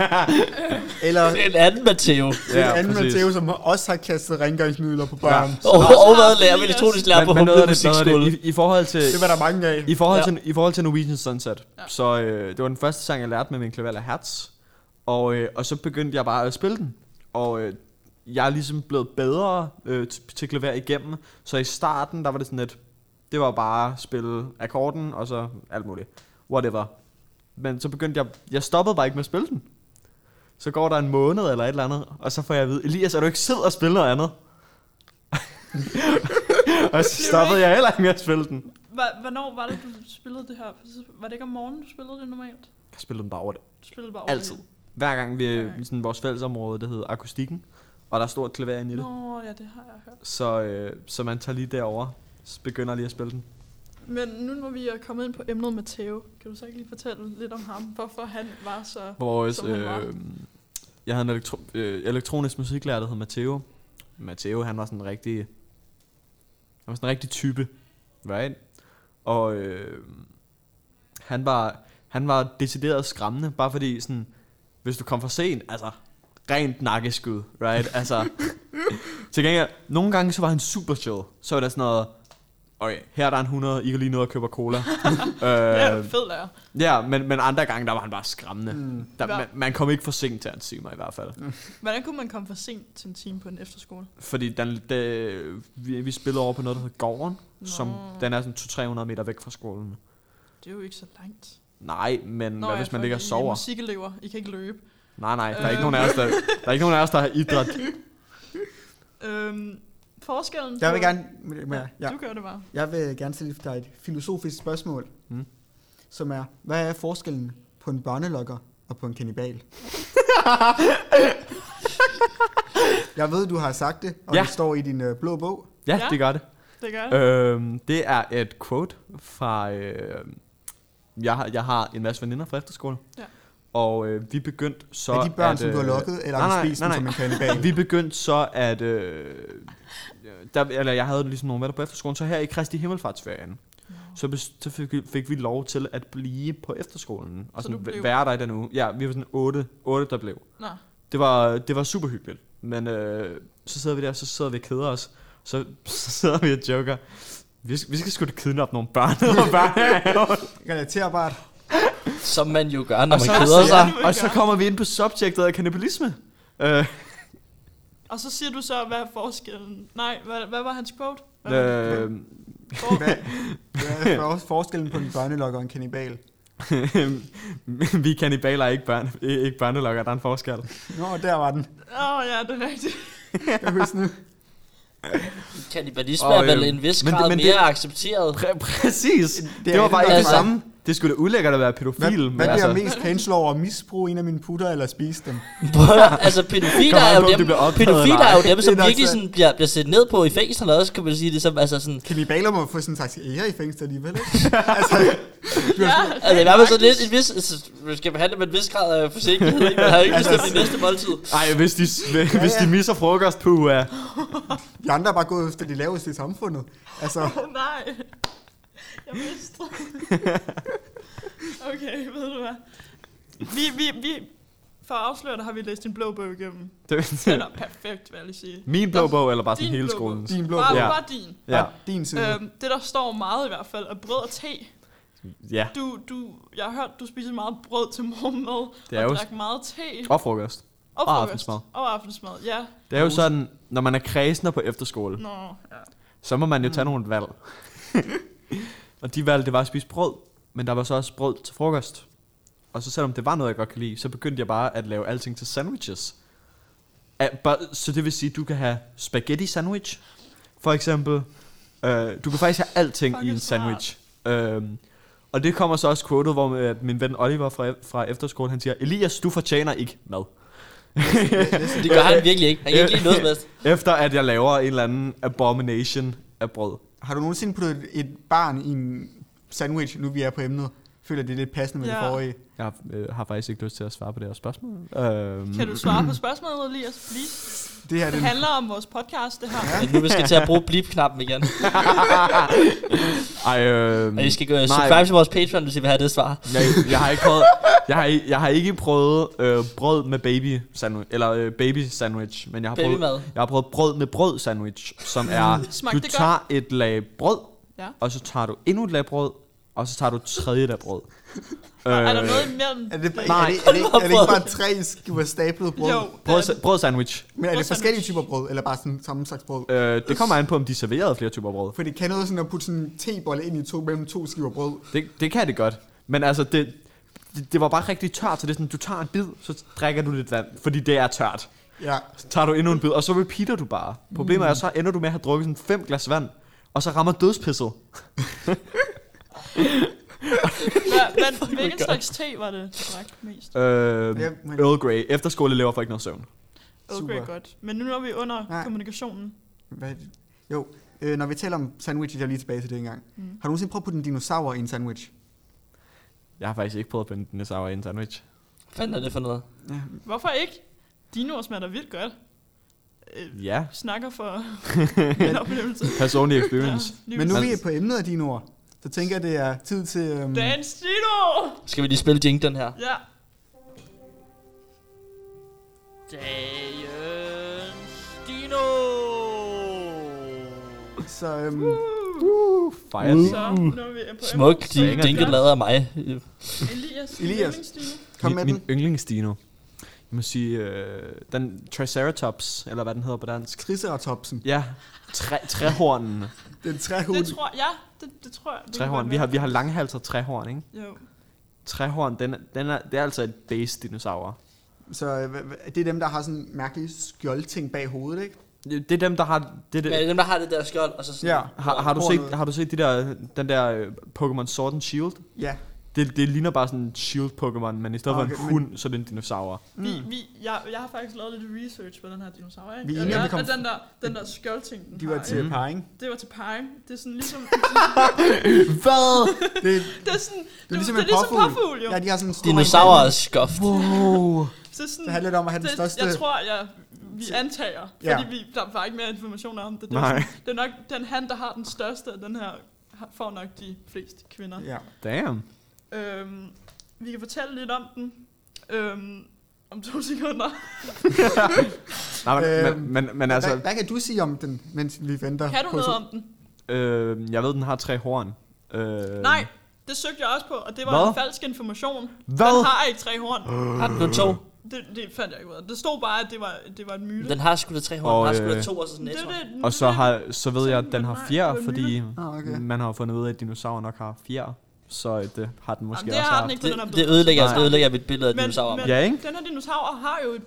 Eller Det er en anden Matteo. ja, anden præcis. Matteo, som også har kastet rengøringsmidler på børn. Ja. Og, og hvad lærer vi elektronisk lærer på Men, men noget Humble af det, noget af Musikskole? det, i, i forhold til... Det var der mange af. I forhold, Ja. ja. til, I forhold til Norwegian Sunset, Ja. ja. så øh, det var den første sang, jeg lærte med min klaverlærer Hertz. Og, øh, og så begyndte jeg bare at spille den. Og øh, jeg er ligesom blevet bedre øh, t- til klaver igennem. Så i starten, der var det sådan lidt... Det var bare at spille akkorden, og så alt muligt. Whatever. Men så begyndte jeg... Jeg stoppede bare ikke med at spille den. Så går der en måned eller et eller andet, og så får jeg at vide, Elias, er du ikke sød og spille noget andet? og så stoppede jeg heller ikke med at spille den. Hva- Hvornår var det, du spillede det her? Var det ikke om morgenen, du spillede det normalt? Jeg spillede den bare over det. Du spillede bare Altid. Hver gang vi, Okay. sådan, vores fællesområde, det hedder akustikken, og der er stort klaver inde i det. Nå, ja, det har jeg hørt. Så, øh, så man tager lige derover, s- begynder lige at spille den. Men nu når vi er kommet ind på emnet med Theo, kan du så ikke lige fortælle lidt om ham? Hvorfor han var så... Vores, Som han var. øh, jeg havde en elektro- øh, elektronisk musiklærer, der hed Matteo. Matteo, han var sådan en rigtig, han var sådan en rigtig type, right? Og øh, han var, han var decideret skræmmende, bare fordi sådan, hvis du kom for sent, altså, rent nakkeskud, right? Altså, til gengæld, nogle gange så var han super chill. Så var der sådan noget, okay, her er der en 100, I kan lige nå at købe cola. Ja, øh, fed lærer. Ja, men, men andre gange, der var han bare skræmmende. Mm. Mm. Der, Hva- man, man kom ikke for sent til hans timer i hvert fald. Mm. Hvordan kunne man komme for sent til en time på en efterskole? Fordi den, det, vi, vi spillede over på noget, der hedder Gården, Nå. Nå. som den er sådan 200-300 meter væk fra skolen. Det er jo ikke så langt. Nej, men Nå, hvad ja, hvis man for ligger og I er sover? musikelever. I kan ikke løbe. Nej, nej, der er, ikke Øh. nogen af os, der, der er ikke nogen af os, der har idræt. Øhm, forskellen Jeg på- vil gerne, ja, ja. Du gør det bare. jeg vil gerne stille dig et filosofisk spørgsmål, Mm. som er, hvad er forskellen på en børnelokker og på en kanibal? jeg ved, du har sagt det, og Ja. det står i din øh, blå bog. Ja, Ja. ja, det gør det. Det gør jeg. Øhm, det er et quote fra... Øh, jeg, har- jeg har en masse veninder fra efterskole. Ja. Og øh, vi begyndte så... Så er de børn, at, som du har øh, lukket, eller har nej, nej, du spist nej, dem nej. som en kanibal? Øh, Vi begyndte så at... Øh, der, eller jeg havde ligesom nogle venner på efterskolen, så her i Kristi Himmelfartsferien, så, bes, så fik, vi- fik vi lov til at blive på efterskolen, og Så sådan du blev- være der i den uge. Ja, vi var sådan otte, otte der blev. Nå. Det var, det var super hyggeligt, men øh, så sidder vi der, så sidder vi og keder os, så, så sidder vi og joker, vi, skal- vi skal sgu da kidnappe nogle børn, og, børn. Relaterbart. Som man jo gør, når og, man så, keder sig. ja, og så kommer vi ind på subjektet af kanibalisme. Øh, Og så siger du så, hvad er forskellen? Nej, hvad, hvad var hans quote? Hvad var det? øh, Hvor- Hvad, hvad er for- forskellen på en børnelokker og en kanibal? vi er kannibaler, ikke, børn, ikke børnelokker. Der er en forskel. Nå, der var den. Åh oh, ja, det er rigtigt. Jeg husker nu. Kannibalisme Og, er vel øh, en vis men- grad øhm, men det- mere accepteret. Præ- præcis. Det, er det var bare det ikke det altså. samme. Det skulle da ulækkert at være Hvad, pædofil. Film, men hvad bliver altså, altså. mest cancel over? Misbruge en af mine putter eller spise dem? altså, pædofiler Kommer er an på, om jo de dem, bliver opdaget pædofiler eller er ej. jo dem, Det som er nok virkelig sandt. sådan bliver, bliver set ned på i fængslerne også, kan man sige det som, altså sådan, Kanibaler må få sådan en slags ære i fængslet alligevel, ikke? altså, altså i hvert fald sådan lidt, en vis, altså, man skal behandle med en vis grad af forsigtighed, ikke? Man har jo ikke Altså, bestemt i næste måltid. Ej, hvis de, hvis de misser frokost, puha. de andre er bare gået efter de laveste i samfundet. Altså, Åh, nej. Jeg mistede. okay, ved du hvad? Vi, vi, vi, for at afsløre dig, har vi læst en blå bog igennem. Det- Den er perfekt, vil jeg lige sige. Min blå bog, eller bare sådan Din hele blå bog. skolens? din blå Bare, Ja. ja. bare din. Ja. din side. Øhm, det, der står meget i hvert fald, er brød og te. Ja, Du, du, jeg har hørt, du spiser meget brød til morgenmad, Det er og jo- drak meget te. og frokost. Og, og frokost. aftensmad. Og aftensmad, ja. Det er jo sådan, når man er kredsner på efterskole, Nå, ja. så må man jo tage nogle valg. og de valg, det var at spise brød, men der var så også brød til frokost. Og så selvom det var noget, jeg godt kan lide, så begyndte jeg bare at lave alting til sandwiches. Ah, bare- Så det vil sige, at du kan have spaghetti sandwich, for eksempel. Øh, du kan faktisk have alting i Fucking en sandwich. Øhm, og det kommer så også quotet, hvor øh, at min ven Oliver fra, fra efterskolen, han siger, Elias, du fortjener ikke mad. Det gør han virkelig ikke. Han kan ikke lide noget som helst. Efter at jeg laver en eller anden abomination af brød. Har du nogensinde puttet et, et barn i en sandwich, nu vi er på emnet? Føler det er lidt passende med ja. det Ja. forrige? Jeg har, øh, har faktisk ikke lyst til at svare på det her spørgsmål. Øhm, Kan du svare på spørgsmålet, Elias, please? Det her, Det den, handler om vores podcast, det her. Men nu vi skal til at bruge blip-knappen igen. Ej, øh, Og I skal gå Nej. subscribe til vores Patreon, hvis I vil have det svar. jeg, jeg, har ikke prøvet, jeg, har, i- jeg har ikke prøvet øh, brød med baby sandwich, eller øh, baby sandwich, men jeg har, prøvet, Babymad. jeg har prøvet brød med brød sandwich, som er, Mm. Smagte du det godt? tager et lag brød, Ja. og så tager du endnu et lag brød, og så tager du et tredje lag brød. Øh, Er der noget imellem? er, det, er, Nej. det, er, det, er det ikke bare tre skiver stablet brød? Jo, brød, det er- brød sandwich. Men er det Brødsandwich. forskellige typer brød, eller bare sådan samme slags brød? Øh, det kommer an på, om de serverede flere typer brød. For det kan noget sådan at putte sådan en tebolle ind i to, mellem to skiver brød. Det, det kan det godt. Men altså, det, det, det var bare rigtig tørt, så det er sådan, du tager en bid, så drikker du lidt vand, fordi det er tørt. Ja, Så tager du endnu en bid, og så repeater du bare. Problemet Mm. er, så ender du med at have drukket sådan fem glas vand, og så rammer dødspisset. Hvad- hvad- Hvilken slags te var det, du drak mest? Øh, Ja, men- Earl Grey. Efterskoleelever får ikke noget søvn. Okay, super. godt. Men nu er vi under Nej. kommunikationen. Hvad er det? Jo, øh, når vi taler om sandwich, jeg er lige tilbage til det engang. Mm. Har du nogensinde prøvet at putte en dinosaur i en sandwich? Jeg har faktisk ikke prøvet at binde den sour i en sandwich. Hvad fanden er det for noget? Hvorfor ikke? Dine ord smager da vildt godt. Øh, Ja, snakker for en oplevelse. personlig experience. Ja, Men nu Altså- vi er på emnet af dine ord, så tænker jeg, det er tid til... Øhm, Dan Stino! Skal vi lige spille jinglen her? Ja, Dagens Dino! så øhm, Fejre Mm. det. så nu er vi på Smuk emnet. de jingle lavet af mig. Elias, Elias. Elias. kom min, med min den. yndlingsdino. Jeg må sige, øh, den Triceratops, eller hvad den hedder på dansk. Triceratopsen. Ja, træ, træhornen. Den Det træhudet. tror jeg, ja, det, det tror jeg. det kan Træhorn. godt Vi har, være. vi har langhalset træhorn, ikke? Jo. Træhorn, den, er- den er, det er altså et base dinosaur. Så øh, hva- hva- det er dem, der har sådan mærkelige skjoldting bag hovedet, ikke? Det det er dem, der har... Det, Men det, dem, der har det der skjold, og så sådan... Ja. har, har, du Hornet. set, har du set de der, den der øh, Pokémon Sword and Shield? Ja. Det, det ligner bare sådan en shield-Pokémon, men i stedet okay, Okay, for en men- hund, så er det en dinosaur. Vi, vi, jeg, jeg har faktisk lavet lidt research på den her dinosaur, ikke? Mm. Vi er Og enige om, vi jeg- kom- og den der, den der skjoldting, den De har, var til Mm. parring. ikke? Det var til parring. Det er sådan ligesom... Hvad? Det, det er sådan... det er ligesom det en er ligesom påfugl. påfugl, jo. Ja, de har sådan en stor... Dinosaurer er skoft. Wow! Så sådan, Det handler det om at have den det- største- Jeg tror, jeg, vi antager, Ja. fordi vi, der var ikke mere information om det. Det, Nej. er sådan, det er nok den han, der har den største, og den her har- får nok de fleste kvinder. Ja. Damn. Øhm, vi kan fortælle lidt om den øhm, om to sekunder. Nej, men, Øhm, men, men, men Altså, hvad, altså, hvad kan du sige om den, mens vi venter? Kan du på- noget om den? øh, jeg ved, den har tre horn. Øh, Nej, det søgte jeg også på, og det var Hvad? en falsk information. Den Hvad? har ikke tre horn. Har den kun to? Det, det fandt jeg ikke ud af. Det stod bare, at det var, det var en myte. Den har sgu da tre hånd. Og, Den har sgu da øh, to, og så sådan det, et hånd. det, Og så, har, så ved jeg, at den har Nej, det var fjer, en fordi Ah, okay. man har jo fundet ud af, at dinosaurer nok har fjer. Så øh, det har den måske Jamen, det også har haft. den ikke på Det, den her det billede. ødelægger, Nej. det ødelægger mit billede af Men- dinosaurer. men- Ja, ikke? Den her dinosaur har jo et,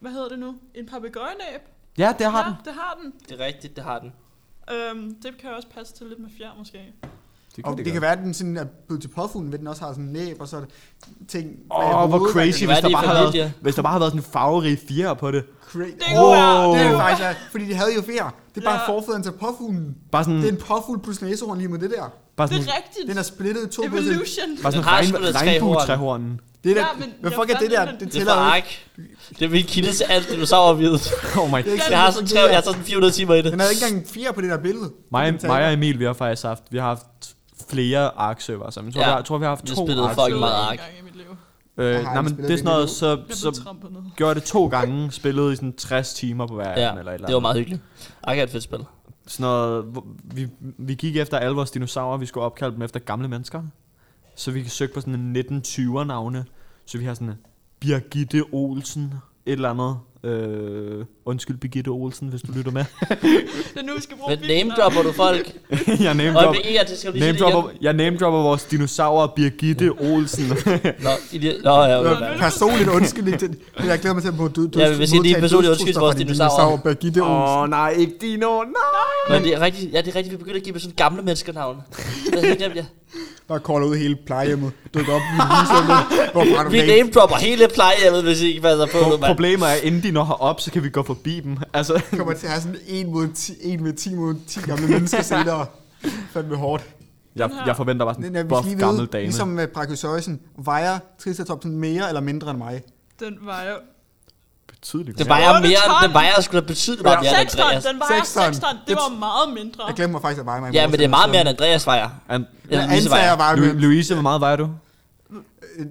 hvad hedder det nu? En papegøjenæb. Ja, det har ja, den. det har den. Det er rigtigt, det har den. Øhm, det kan jo også passe til lidt med fjer måske. Det Det og kunne det, det kan godt. være, at den sådan er blevet til påfuglen, ved at den også har sådan en næb og så ting. Åh, oh, hvor altså, crazy, Hvad hvis er det der, bare for havde, familier? hvis der bare havde været sådan en farverig fjerde på det. Crazy. Det kunne være. Wow. Det er Det det kunne faktisk, ja. fordi de havde jo fjer. Det er bare Ja. forfædren til påfuglen. Bare sådan, Det er en påfugl plus næsehorn lige med det der. bare Det sådan, er rigtigt. Den er splittet i to. på sådan- Evolution. bare Den sådan har regn, sgu da tre regnbuetræhornen. Det der, Ja, men men, jeg fuck er det fandt der? den. Det Det er tæller fra jo ikke. Ark. Det er min kilde til alt dinosaurviden. Oh my Det er ikke Jeg har sådan, tre, jeg har sådan 400 timer i det. Den havde ikke engang fjer på det der billede. Mig, Den tæller. mig og Emil, vi har faktisk haft, vi har haft flere ark-server sammen. Jeg tror, Ja. ja. vi har, jeg tror, vi har haft Vi to spillede ark fucking meget ark. gang i mit liv. øh, Jeg har Nej, men spillet det er sådan det noget, endnu. så, Jeg blev så trampet ned. gjorde jeg det to gange, spillede i sådan 60 timer på hver af Ja, dem, eller et eller det var andet. meget hyggeligt. Ark er et fedt spil. Sådan noget, hvor vi, vi gik efter alle vores dinosaurer, vi skulle opkalde dem efter gamle mennesker. Så vi søgte på sådan en 1920'er navne, så vi har sådan en Birgitte Olsen, et eller andet. Øh, undskyld Birgitte Olsen, hvis du lytter med. Det er nu, vi skal bruge Men bilen. name dropper du folk? jeg name Og drop, det er, det skal du lige name sige det igen. dropper, jeg name dropper vores dinosaurer Birgitte Olsen. Nå, i det- Nå, ja, okay. Nå, Personligt undskyldning til det. Jeg glæder mig til at bruge død, død, Ja, vi vil sige, det er personligt undskyld til vores dinosaurer. Birgitte Olsen. Åh oh, nej, ikke Dino, nej. Men det er rigtigt, ja, det er rigtigt, vi begynder at give dem sådan gamle mennesker navn. Det er helt glemt, ja. Der kolder ud hele plejehjemmet. Dukker op i lyset. Hvor var du Vi væk? name dropper hele plejehjemmet, hvis I ikke passer på det, mand. Problemet er, inden de når herop, så kan vi gå forbi dem. Altså, Kommer til at have sådan en mod ti, en med 10 mod 10 gamle mennesker senere. Fandme hårdt. jeg, jeg forventer bare Den sådan er en vi buff lige gammel ved, dame. ligesom med Brachiosaurusen, vejer Triceratopsen mere eller mindre end mig. Den var jo... Betydeligt. Det vejer Otte mere, ton. det vejer sgu da betydeligt meget mere end 6 ton, Andreas. den vejer Seks ton. 6 ton. Det var meget mindre. Jeg glemmer faktisk at veje mig. altså. Ja, men det er meget mere end Andreas vejer. An- Eller Jeg Louise antager, vejer. jeg vejer Lu- mere. Louise, hvor meget vejer du?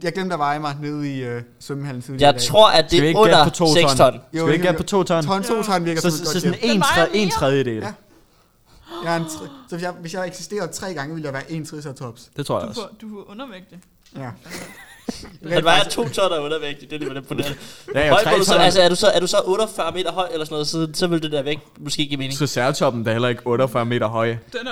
Jeg glemte at veje mig nede i øh, svømmehallen tidligere Jeg i dag. tror, at det Skal vi er ikke under gætte på to 6 ton. ton? Skal vi ikke helt gætte på to ton? Ton, to ton virker Så, som et så, godt så sådan gæt. en, Den vejer tredje, en mere. tredjedel. Ja. Jeg er en tre, så hvis jeg, hvis jeg eksisterede tre gange, ville jeg være en triceratops. Det tror jeg Du også. får, du får undervægtig. Ja. Han vejer 2 ton og undervægtig, det er lige med imponerende. Ja, Høj, hvor du så, ton. altså, er, du så, er du så 48 meter høj eller sådan noget, så, så vil det der vægt måske give mening. Triceratoppen der er heller ikke 48 meter høj. Ja, Den er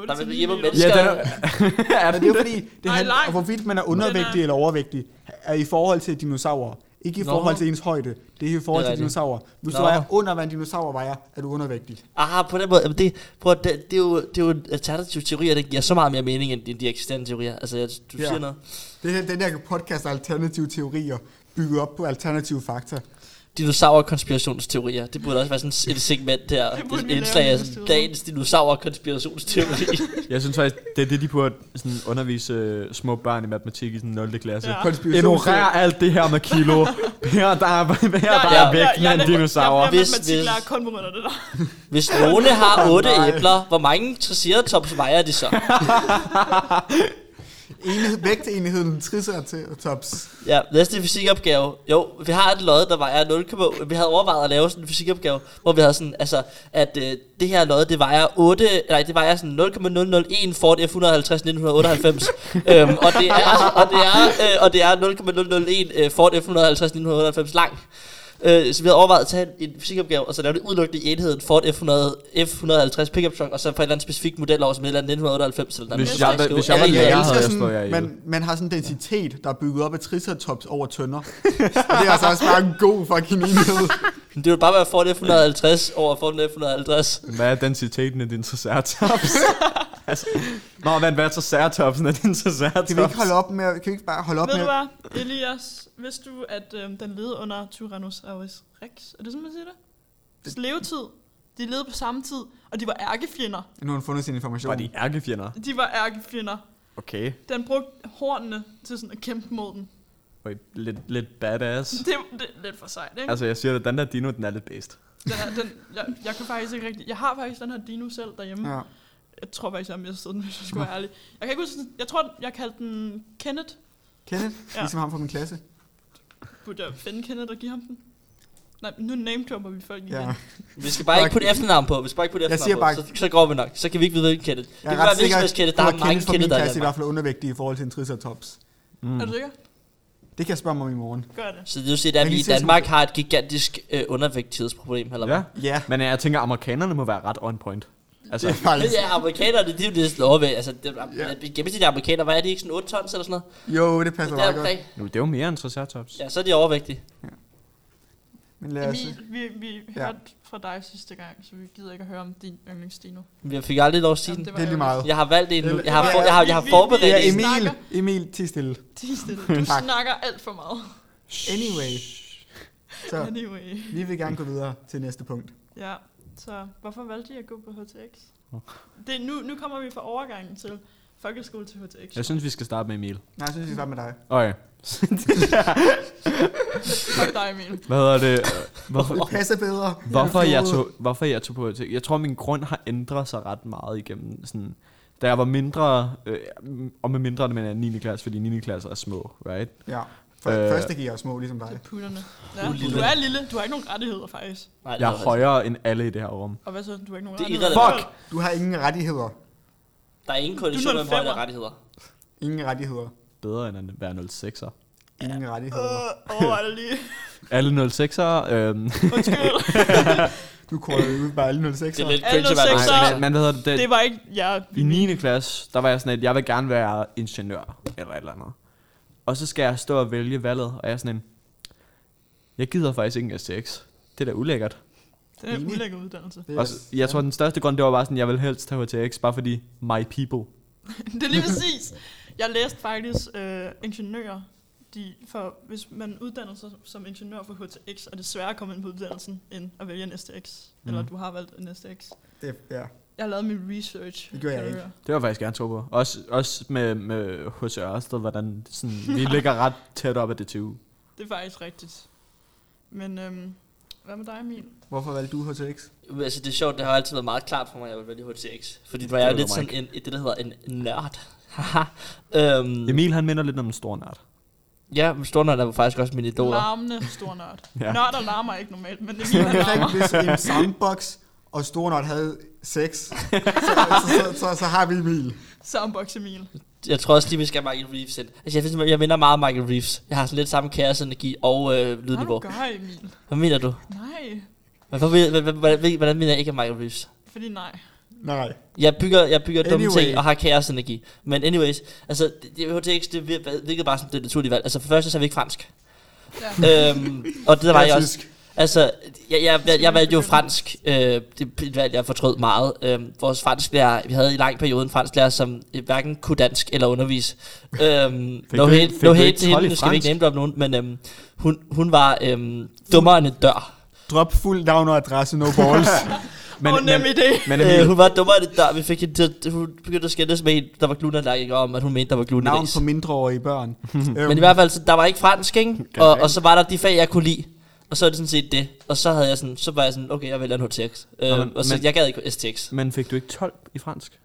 8 Der vil til du 9 hjemme meter. med- den er, Er det, det er jo fordi, det Nej, handler langt. om, hvorvidt man er undervægtig Den er- eller overvægtig, er i forhold til dinosaurer. Ikke i Nå. forhold til ens højde. Det er i forhold til Det er rigtigt. dinosaurer. Hvis du Nå. vejer under, hvad en dinosaur vejer, er du undervægtig. Aha, på den måde. Jamen det, prøv, at- det, det, er jo, det er jo en alternativ teori, og det giver så meget mere mening end de, de eksisterende teorier. Altså, jeg, du Ja. ja. siger noget. Det er den der podcast af alternative teorier, bygget op på alternative fakta. Dinosaurer-konspirationsteorier. Det burde også være sådan et segment der. Det burde Et vi lave indslag af næste sådan, uge. dagens dinosaurer-konspirationsteori. jeg synes faktisk, det er det, de burde sådan undervise øh, små børn i matematik i sådan 0. klasse. Ja. Konspiration. Ignorer alt det her med kilo. Her der er, her, der Ja, er ja, vægten af en dinosaur. Jeg er Hvis- matematiklærer hvis- kun på grund af det der. Hvis Lone har otte Nej. æbler, hvor mange triceratops vejer de så? Enhed, vægtenheden triceratops. Ja, næste fysikopgave. Jo, vi har et lod, der vejer 0,8. Vi havde overvejet at lave sådan en fysikopgave, hvor vi havde sådan, altså, at øh, det her lod, det vejer 8, nej, det vejer sådan 0,001 Ford F-150 1998. øhm, og det er, og det er, øh, og det er 0,001 øh, Ford F-150 1998 lang. Øh, så vi havde overvejet at tage en, en fysikopgave, og så lave det udelukkende i enheden Ford F100, F150 pickup truck, og så for et eller andet specifikt model over, som hedder 1998 eller noget. Hvis jeg, hvis jeg var Ja, ja, lærer, elsker havde jeg sådan- slået jer ihjel. man, man har sådan en densitet, der er bygget op af triceratops over tønder. og det er altså også bare en god fucking enhed. øh, Det ville bare være Ford F150 over Ford F150. Hvad er densiteten af din triceratops? altså, nå, vent, hvad er triceratopsen af din triceratops? Kan vi ikke holde op med, kan vi ikke bare holde op Ved med du hvad, Elias, vidste du, at øhm, den levede under Tyrannosaurus rex? Er det sådan, man siger det? Dets levetid. De levede på samme tid, og de var ærkefjender. Nu har hun fundet sin information. Var de ærkefjender? De var ærkefjender. Okay. Den brugte hornene til sådan at kæmpe mod dem. Okay, lidt, lidt badass. Det, det er lidt for sejt, ikke? Altså, jeg siger det, den der dino, den er lidt bedst. Den er, den, jeg, jeg kan faktisk ikke rigtig... Jeg har faktisk den her dino selv derhjemme. Ja. Jeg tror faktisk, jeg har mistet den, hvis jeg skal være ærlig. Jeg kan ikke huske... den- Jeg tror, jeg kaldte den Kenneth. Kenneth, Ja. ligesom ham fra min klasse. Burde jeg finde Kenneth og give ham den? Nej, nu name-dropper vi folk igen. Ja. Ja. Vi skal bare ikke putte efternavn på. Vi skal bare ikke putte Jeg efternavn siger på. bare- Så, så går vi nok. Så kan vi ikke vide, hvilken Kenneth. Det Jeg kan er ret være hvilken sikker, som helst Kenneth. Der er at mange Kenneth fra min Kenneth, der er i klasse i hvert Danmark. fald undervægtig i forhold til en triceratops. Mm. Er du sikker? Det kan jeg spørge mig om i morgen. Gør det. Så det vil sige, at Men vi lige i til at Danmark har et gigantisk øh, undervægtighedsproblem. Eller Ja. ja. Ja, Men øh, jeg tænker, amerikanerne må være ret on point. Altså, det er faktisk... ja, amerikanerne, de er jo næsten overvægt. Altså, det, ja. gennemsnitlige amerikanere, hvad er de ikke sådan 8 tons eller sådan noget? Jo, det passer Der meget godt. omkring. nu, det er jo mere end triceratops. Ja, så er de overvægtige. Men Lad os, Emil, vi, vi Ja. hørte fra dig sidste gang, så vi gider ikke at høre om din yndlingsdino. Jeg fik aldrig lov at sige Jamen, den. det er lige meget. Jeg har valgt en nu. Jeg har, Ja, for, ja. jeg har, jeg har Vi- vi- forberedt Ja, vi- en. Emil, snakker. Emil, ti stille. Tisdel, du Tak. snakker alt for meget. Anyway. Så Anyway. vi vil gerne gå videre til næste punkt. Ja, så hvorfor valgte I at gå på HTX? Det, nu, nu kommer vi fra overgangen til folkeskole til HTX. Jeg synes, vi skal starte med Emil. Nej, jeg synes, vi starter med dig. Okay. Fuck dig, Emil. Hvad hedder det? Øh, Hvorfor, Det passer bedre. hvorfor, jeg tog, hvorfor jeg tog på HTX? Jeg tror, min grund har ændret sig ret meget igennem sådan... Da jeg var mindre, øh, og med mindre, men er 9. klasse, fordi 9. klasse er små, right? Ja, for Øh. øh, første gik jeg jo små, ligesom dig. Det er putterne. Du er Ja, lille. du er lille, du har ikke nogen rettigheder faktisk. Nej, det Jeg var er højere end alle i det her rum. Og hvad så, du har ikke nogen Det er rettigheder? irrelevant. Fuck! Du har ingen rettigheder. rigtigt. Der er ingen Du kondition er med en højde femmer. rettigheder. Ingen rettigheder. Bedre end at være 06'er. Ingen rettigheder. Øh, overvej det lige. Alle 06'ere, øhm, Undskyld. Du kunne jo ud bare alle 06'er. Det er lidt Alle cringe at være sexer. nej, Nej, så- men, men hvad hedder det? det Det var ikke jer. I 9. klasse, der var jeg sådan, at jeg vil gerne være ingeniør, eller et eller andet. Og så skal jeg stå og vælge valget, og jeg er sådan en, jeg gider faktisk ikke en STX. Det er da ulækkert. Det er en Enig. ulækker uddannelse. Det er- Og så, jeg tror, den største grund, det var bare sådan, jeg vil helst tage HTX, bare fordi my people. det er lige præcis. Jeg læste faktisk øh, ingeniører, de, for hvis man uddanner sig som ingeniør for HTX, er det sværere at komme ind på uddannelsen, end at vælge en STX. Mm. Eller Mhm. du har valgt en STX. Det, ja. Jeg har lavet min research. Det gjorde jeg kan du ikke. høre. Det var jeg faktisk gerne tro på. Også, også med, med H.C. Ørsted, hvordan sådan, vi ligger ret tæt op ad det 20. Det er faktisk rigtigt. Men øhm, hvad med dig, Emil? Hvorfor valgte du HTX? Men Altså, det er sjovt, det har altid været meget klart for mig, at jeg vil vælge HTX. Fordi det var Det jeg ved lidt du sådan en, et- det, der hedder en nørd. Haha. øhm, Emil, han minder lidt om en stor nart. ja, men Stornørd er jo faktisk også min idol. Larmende stor nørd. Ja. ja. Nørder larmer ikke normalt, men det Det er er larmer. ikke, hvis en soundbox og Stornot havde sex, så, så, så, så, så har vi Emil. Soundbox Emil. Jeg tror også lige, vi skal have Michael Reeves ind. Altså, jeg, synes, jeg minder meget om Michael Reeves. Jeg har sådan lidt samme kaosenergi og øh, Nej, du lydniveau. gør, Emil. Hvad mener du? Nej. Men Hvorfor, vil- h- h- h- h- hvordan mener jeg ikke om Michael Reeves? Fordi nej. Nej. Jeg bygger, jeg bygger dumme Anyway. ting og har kaosenergi. Men anyways, altså, det, det, HTX, det vir- virkede bare som det naturlige valg. Altså, for det første, så er vi ikke fransk. Ja. øhm, og det var jeg også. tysk. Altså, jeg, jeg, jeg, jeg valgte jo fransk. Øh, det er et valg, jeg fortrød meget. Øh, vores fransklærer, vi havde i lang periode en fransklærer, som øh, hverken kunne dansk eller undervise. Øh, no du- hate, fik no du hate ikke til 12 i hende, nu skal vi ikke fransk? name droppe nogen, men øhm, hun, hun var øhm, dummere end en dør. Drop fuld navn og adresse, no balls. Men, oh, nem men, idé. men Øh, Emil, hun var dummere end en dør. Vi fik hende til, at- hun begyndte at skændes med en, der var glutenallergiker om, at hun mente, der var gluten i navn ris. på mindreårige børn. Øhm, Men i hvert fald, så der var ikke fransk, ikke? Og, og så var der de fag, jeg kunne lide. Og så er det sådan set det. Og så havde jeg sådan, så var jeg sådan, okay, jeg vælger en HTX. Øh, Nå, men- og så, men- jeg gad ikke STX. men fik du ikke 12 i fransk?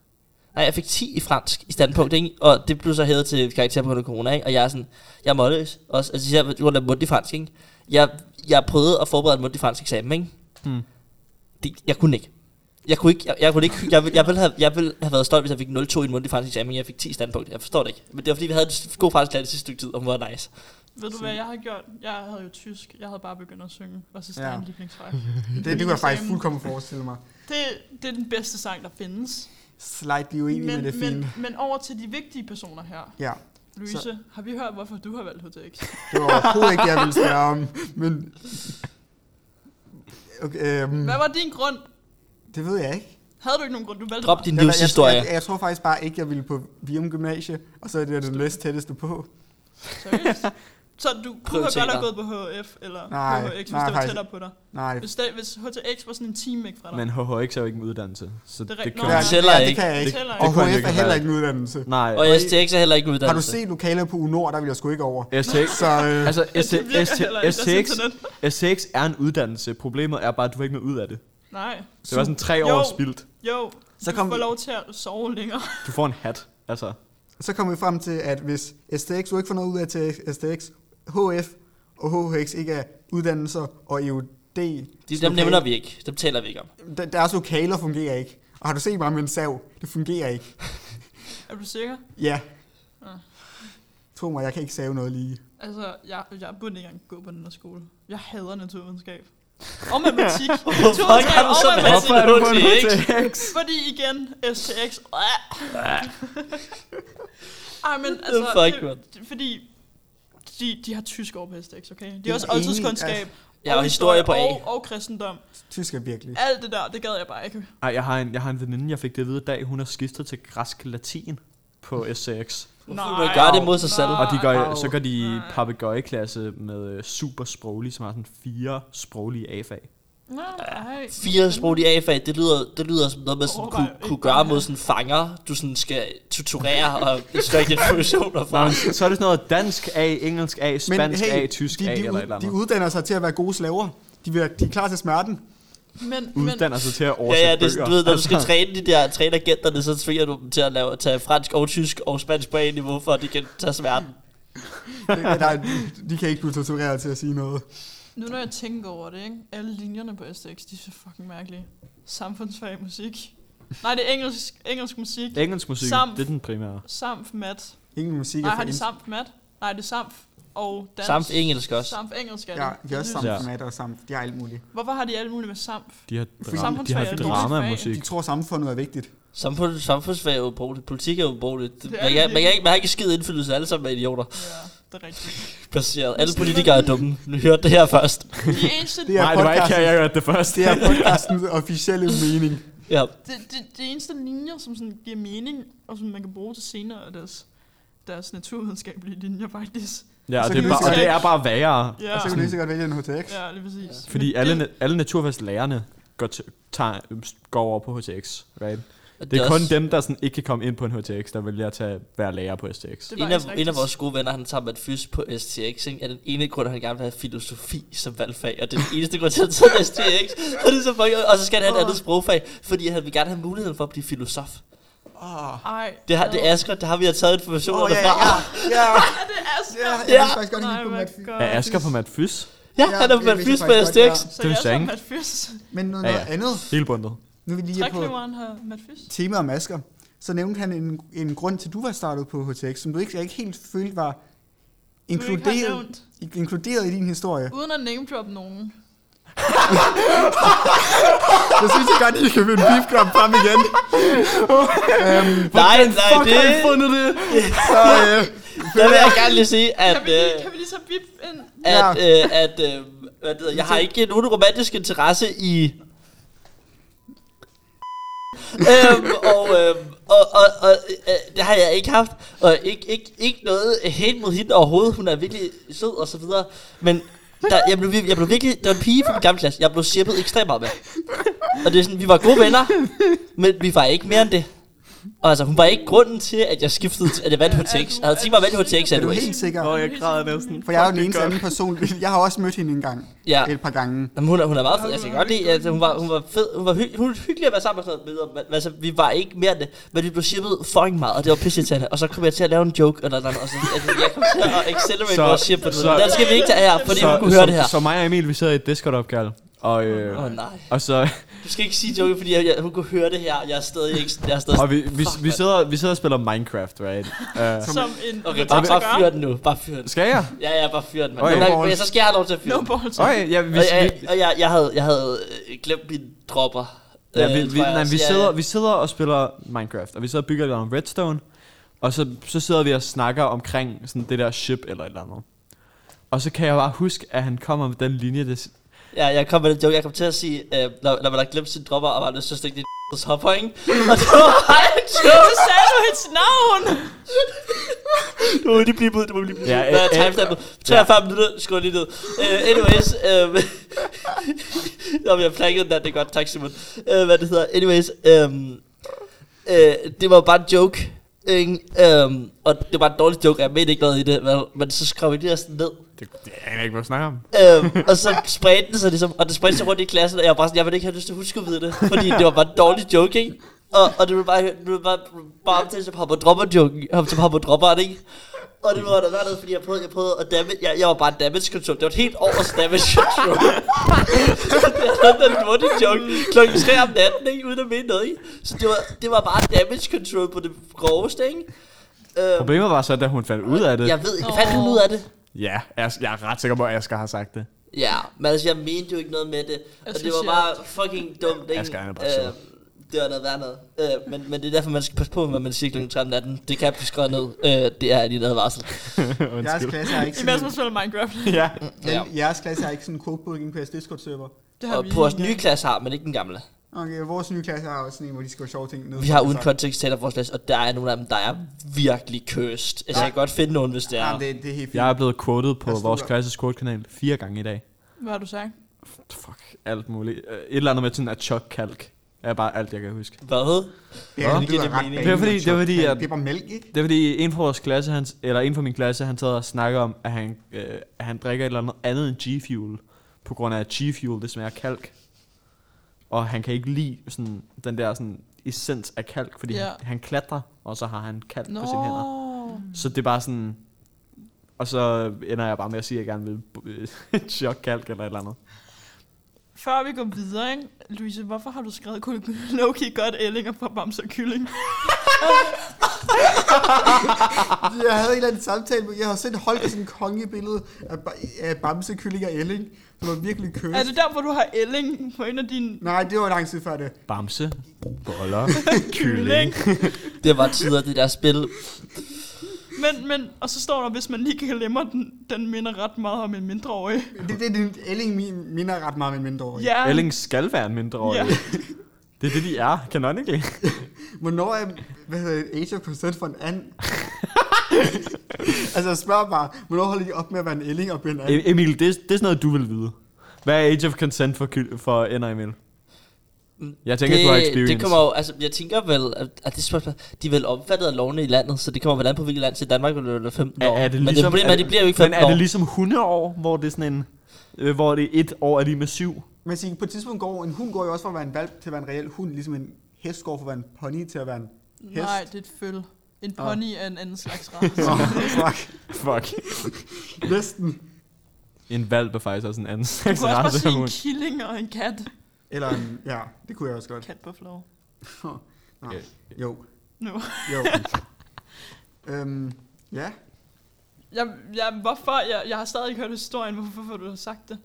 Nej, jeg fik 10 i fransk i standpunkt, ikke? Og det blev så hævet til karakter på grund af corona, ikke? Og jeg er sådan, jeg er målløs også. Altså, jeg gjorde lidt mundtlig fransk, ikke? Jeg, jeg prøvede at forberede en mundtlig fransk eksamen, ikke? Hmm. Det, jeg kunne ikke. Jeg kunne ikke, jeg, jeg kunne ikke, jeg, ville- jeg, ville have, jeg ville have været stolt, hvis jeg fik 0-2 i en mundtlig fransk eksamen, men jeg fik 10 i standpunkt. Jeg forstår det ikke. Men det var fordi, vi havde en god fransk lærer det sidste stykke tid, og hun var nice. Ved du, hvad jeg har gjort? Jeg havde jo tysk. Jeg havde bare begyndt at synge, og så startede Ja. en ligningsfejl. Det, det kunne jeg faktisk fuldkommen forestille mig. Det, det er den bedste sang, der findes. Slightly uenig, men, men det er men, fint. men over til de vigtige personer her. Ja, Louise, så. har vi hørt, hvorfor du har valgt HTX? det var overhovedet ikke, jeg ville spørge om. Men... Okay, øhm, Hvad var din grund? det ved jeg ikke. Havde du ikke nogen grund? Du valgte Drop din Jeg, jeg, livshistorie. jeg, jeg, tror faktisk bare ikke, jeg ville på Vium Gymnasie, og så er det det næst tætteste på. mig. Seriøst? Så du kunne have Prioriteter. godt have gået på HF eller Nej, HHX, hvis nej, det var faktisk- tættere på dig. Nej, Hvis, det, hvis HTX var sådan en time væk fra dig. Men HHX er jo ikke en uddannelse, så Det er det, rigtigt. det Nå, kan Ja, Det tæller ja, det ikke. kan jeg ikke. Det tæller Og ikke. Det kunne HF ikke er heller være. ikke en uddannelse. Nej, Og STX er heller ikke en uddannelse. Har du set lokalet på Unor, der vil jeg sgu ikke over. STX, Så øh, Altså, Ja, ST, det virker ST, heller ikke, deres STX, internet. STX er en uddannelse. Problemet er bare, at du får ikke noget ud af det. Nej. Det var sådan tre Jo. år spildt. Jo, Så så du kom får vi- lov til at sove længere. Du får en hat, altså. så kommer vi frem til, at hvis STX du ikke får noget ud af til STX, HF og HHX ikke er uddannelser og E EUD. De, dem nævner vi ikke. Dem taler vi ikke om. Der, deres lokaler fungerer ikke. Og har du set mig med en sav? Det fungerer ikke. Er du sikker? Ja. Ah. Tro mig, jeg kan ikke save noget lige. Altså, jeg, jeg burde ikke engang gå på den her skole. Jeg hader naturvidenskab. Og matematik. Hvorfor Naturvidenskab kan du og så matematik. Hvorfor er du på en Fordi igen, STX. Øh. Ej, men er altså, fuck, det, mand. det, fordi de, de har tysk over på STX, okay? Det Det er er også enig, altså. oldtidskundskab Jeg har historie på A. Og, og kristendom. Tysk er virkelig. Alt det der, det gad jeg bare ikke. Ej, jeg har en, jeg har en veninde, jeg fik det at vide i dag, hun har skiftet til græsk latin på SCX. Hvorfor vil man gøre det mod sig selv? Og de gør, Au. så går de i Nej. papegøjeklasse med øh, super sproglige, som har sådan fire sproglige A-fag. Nej. Fire sprog i A-fag, det lyder, det lyder som noget, man sådan Overvej kunne, ikke kunne gøre mod sådan fanger, du sådan skal torturere og strække informationer fra. Nej, men så er det sådan noget dansk A, engelsk A, spansk A, tysk de, A de, eller ud- et eller De andet. uddanner sig til at være gode slaver. De, vil, de er klar til smerten. Men, men, Uddanner sig til at Ja, oversætte ja, det er sådan, bøger. du ved, når du skal Altså, træne de der trænagenterne, så tvinger du dem til at lave, tage fransk og tysk og spansk på en niveau, for at de kan tage sværden. Det- der, de, de kan ikke blive tortureret til at sige noget. nu når jeg tænker over det, ikke? alle linjerne på STX, de er så fucking mærkelige. Samfundsfag, musik. Nej, det er engelsk, engelsk musik. Engelsk musik, Samt- det er den primære. Samf mat. Ingen musik Nej, er for har de ind- samf mat? Nej, det er samf og dans. Samt engelsk også. Samf engelsk er det. Ja, de er også samme Ja. formater og samme. De har alt muligt. Hvorfor har de alt muligt med samf? De har, Fordi dra- de samfundsfag har er et drama dårligt fag. musik. De tror, samfundet er vigtigt. Samfund, samfundsfag er jo ubrugeligt, politik er jo ubrugeligt. Det er Man, kan, det man, kan ikke, man har ikke skid indflydelse, alle sammen er idioter. Ja, det er rigtigt. Placeret. Alle politikere er dumme. Nu hørte det her først. De eneste, Det er Nej, det var ikke her, podcasten. jeg hørte det først. Det er podcastens officielle mening. Ja. de, de, de eneste linjer, som sådan giver mening, og som man kan bruge til senere, er deres, deres naturvidenskabelige linjer faktisk. Ja, og Så det kan vi er bare, og sige- det er bare værre. Ja, Og så kan du lige så godt vælge en HTX. ja lige præcis. Fordi Men alle, det, na- alle naturfagslærerne går, til, tager, går over på HTX, right? Og Det er kun også- dem, der sådan ikke kan komme ind på en HTX, der vælger at tage, være lærer på STX. det er En faktisk af, rigtigt. en af vores gode venner, han tager med et fys på STX, ikke? er den ene grund, at han gerne vil have filosofi som valgfag, og det er den eneste grund til, at han tager STX. Og, det er så fucking, og så skal han have et andet sprogfag, fordi han vil gerne have muligheden for at blive filosof. Åh, Ej, Det, har, det er no. Asger, der har vi har taget Åh, informationerne ja, ja, fra. ja. Ja, Er det Asger? ja. Yeah. Jeg Ja. vil faktisk godt Nej, lide på Matt my Fy- god. Er Asger på Matt Fys? Ja, Ja, han er det med et vidste fys jeg på faktisk godt, STX. Så Det er jeg jo er sagen. som Matt Fys. Men noget, Ja, noget ja. andet. Hele bundet. Nu er vi lige på Trækløveren har Matt Fys. tema og masker. Så nævnte han en, en grund til, at du var startet på HTX, som du ikke, jeg ikke helt følte var Du ikke har inkluderet, nævnt. Uh! inkluderet i din historie. Uden at name drop nogen. Så synes jeg godt, at I kan vinde beefklap frem igen. Nej, nej, det, fundet det? Så øh, der vil jeg gerne lige sige, at, Kan vi, lige, øh, kan vi lige så bip ind? at, Ja. øh, at øh, hvad det hedder, jeg har ikke nogen romantisk interesse i... øhm, og, øhm, og, og, og øh, det har jeg ikke haft Og ikke, ikke, ikke noget helt mod hende overhovedet Hun er virkelig sød og så videre Men der, jeg, blev, vir- jeg blev virkelig Der var en pige fra min gamle klasse Jeg blev shippet ekstremt meget med Og det er sådan, vi var gode venner Men vi var ikke mere end det Og altså, hun var ikke grunden til, at jeg skiftede til- At jeg Altså, vandt HTX Jeg havde tænkt mig at vælge HTX er du anyways helt sikker? Åh, jeg græder næsten. For jeg er jo den eneste anden person. Jeg har også mødt hende en gang. Ja. Et par gange. Jamen, hun, er, hun er meget fed. Altså, Jeg kan godt lide, at hun var, hun var fed. Hun var, hy- hun var hyggelig at være sammen med. og Sådan, noget, men, men, altså, vi var ikke mere end det. Men vi blev shippet fucking meget, og det var pissetændende. Og så kom jeg til at lave en joke, eller, eller, og så altså, jeg kom til at accelerate Så- vores ship. på så- noget. Den skal vi ikke tage her, fordi hun kunne så, høre det her. Så mig og Emil, vi sidder i et Discord-opkald. Og, øh, Åh oh, nej. og så Du skal ikke sige joke, fordi jeg, jeg, hun kunne høre det her. Jeg er stadig ikke... Jeg er stadig og vi, vi, Fuck, vi, mand. sidder, vi sidder og spiller Minecraft, right? Uh, Som en... Okay, Som bare, så bare gør. fyr den nu. Bare fyr den. skal jeg? Ja, ja, bare fyr den, mand. Okay. Okay. Men, men, så skal jeg have lov til at fyre No den. balls. Okay, ja, vi, Og jeg, vi, og jeg, jeg, havde, jeg havde øh, glemt mine dropper. Ja, øh, vi, vi, tror jeg. nej, Så vi, jeg- sidder, vi sidder og spiller Minecraft, og vi sidder og bygger lidt om redstone, og så, så sidder vi og snakker omkring sådan det der ship eller et eller andet. Og så kan jeg bare huske, at han kommer med den linje, det, s- Ja, jeg kom med den joke. Jeg kom til at sige, øh, når, når man har glemt sine dropper, og man har lyst til at stikke det i så hopper, ikke? Og det var bare en joke. Så sagde du hendes navn! Du må lige blive ud, du må lige blive Ja, ud. øh, Hvad er øh, timestampet? 43 minutter, skru lige ned. Uh, anyways, øh, Nå, men jeg plankede den der, det er godt, tak Simon. Øh, hvad det hedder, anyways, øh, øh, det var bare en joke, ikke? Øhm, og det var en dårlig joke, og jeg mente ikke noget i det, vel? men så skrev vi det her sådan ned, det, det aner jeg ikke, hvad jeg snakker om. øhm, og så spredte den sig ligesom, og det spredte sig rundt i klassen, og jeg var bare sådan, jeg ville ikke have lyst til at huske at vide det, fordi det var bare en dårlig joke, ikke? Og, og det blev bare, det blev bare, bare omtalt som hopper dropper joken, hop som hopper dropper, ikke? Og det var der været noget, fordi jeg prøvede, jeg prøvede at damage, jeg, jeg var bare en damage control, det var et helt års damage control. det var en dårlig joke, klokken 3 om natten, ikke? Uden at mene noget, ikke? Så det var, det var bare damage control på det groveste, ikke? Øhm, Problemet var så, da hun fandt ud af det. jeg ved ikke, fandt hun ud af det? Ja, jeg, jeg er ret sikker på, at Asger har sagt det. Ja, men altså, jeg mente jo ikke noget med det. Og det synes, var jeg- bare fucking dumt, ikke? Asger, han er bare sød. Øhm, Det var noget værd noget. Øh, men, men det er derfor, man skal passe på, hvad man siger kl. 13 natten. Det kan blive skåret ned. Øh, det er lige en advarsel. Jeres klasse har ikke Imens sådan, man spiller Minecraft. ja. Ja. ja. jeres klasse har ikke sådan en codebooking på jeres Discord-server. Det Og på vores nye klasse har, men ikke den gamle. Okay, vores nye klasse har også sådan en, hvor de skriver sjove ting ned. Vi har uden kontekst talt vores klasse, og der er nogle af dem, der er virkelig cursed. Altså, jeg kan godt finde nogen, hvis det Ja, er. det, det er helt fint. Jeg er blevet quoted på Jeg stoler. vores klasses quote-kanal fire gange i dag. Hvad har du sagt? Fuck, alt muligt. Øh, Et eller andet med sådan at chok kalk er bare alt, jeg kan huske. Hvad? Ja, Nå, det, giver lyder det ret mening. bag- Det er fordi- det er fordi, at- Det er bare mælk, ikke? Det er fordi en fra vores klasse, han, eller en fra min klasse, han sad og snakker om, at han, øh, at han drikker et eller andet andet end G-Fuel, på grund af at G-Fuel, det smager af kalk. Og han kan ikke lide sådan, den der sådan, essens af kalk, fordi Ja. yeah. han, han klatrer, og så har han kalk Nå. på sine hænder. Så det er bare sådan... Og så ender jeg bare med at sige, at jeg gerne vil øh, chok kalk eller et eller andet. Før vi går videre, ikke? Louise, hvorfor har du skrevet Loki godt ællinger på Bams og Kylling? Jeg havde en eller anden samtale, hvor jeg har sendt Holger sådan en kongebillede af, ba- af Bamse, Kylling og Elling. Det var virkelig køs. Er det derfor, du har ælling på en af dine Nej, det var lang tid før det. Bamse, boller, kylling. Det var tider, det der spil. Men, men, og så står der, hvis man lige glemmer den, den minder ret meget om en mindreårig. Det, det, det Elling min- minder ret meget om en mindreårig. Ja, Elling skal være en mindreårig. Ja. Det er det, de er, canonically. Hvornår er, hvad hedder det, Age of Consent for en anden? altså spørg bare, hvornår holder de op med at være en Elling og bliver en anden? E- Emil, det, er- det er sådan noget, du vil vide. Hvad er Age of Consent for, kyl- for ender, Emil? Jeg tænker, det, du har experience. Det kommer jo, altså, jeg tænker vel, at, at det spørgsmål, de er vel omfattet af lovene i landet, så det kommer vel an på, hvilket land til Danmark vil være 15 år. er, er det men det ligesom, problem er, at de bliver jo ikke men 15 er år. det ligesom hundeår, hvor det er sådan en... Øh, hvor det er et år er lige med syv? Man siger, på et tidspunkt går en hund går jo også fra at være en valp til at være en reel hund, ligesom en hest går fra at være en pony til at være en hest. nej, det er et føl. En Åh. pony er en anden slags ras. Nå, fuck. Fuck. Næsten. En valp er faktisk også en anden Du slags kunne også bare race af sige en hund. killing og en kat. Eller en, ja, det kunne jeg også godt. Kat på floor. Nej. Ja. Jo, Nu. jo. øhm, ja, Jeg, jeg, hvorfor? Jeg, jeg har stadig ikke hørt historien. Hvorfor, hvorfor du har sagt det?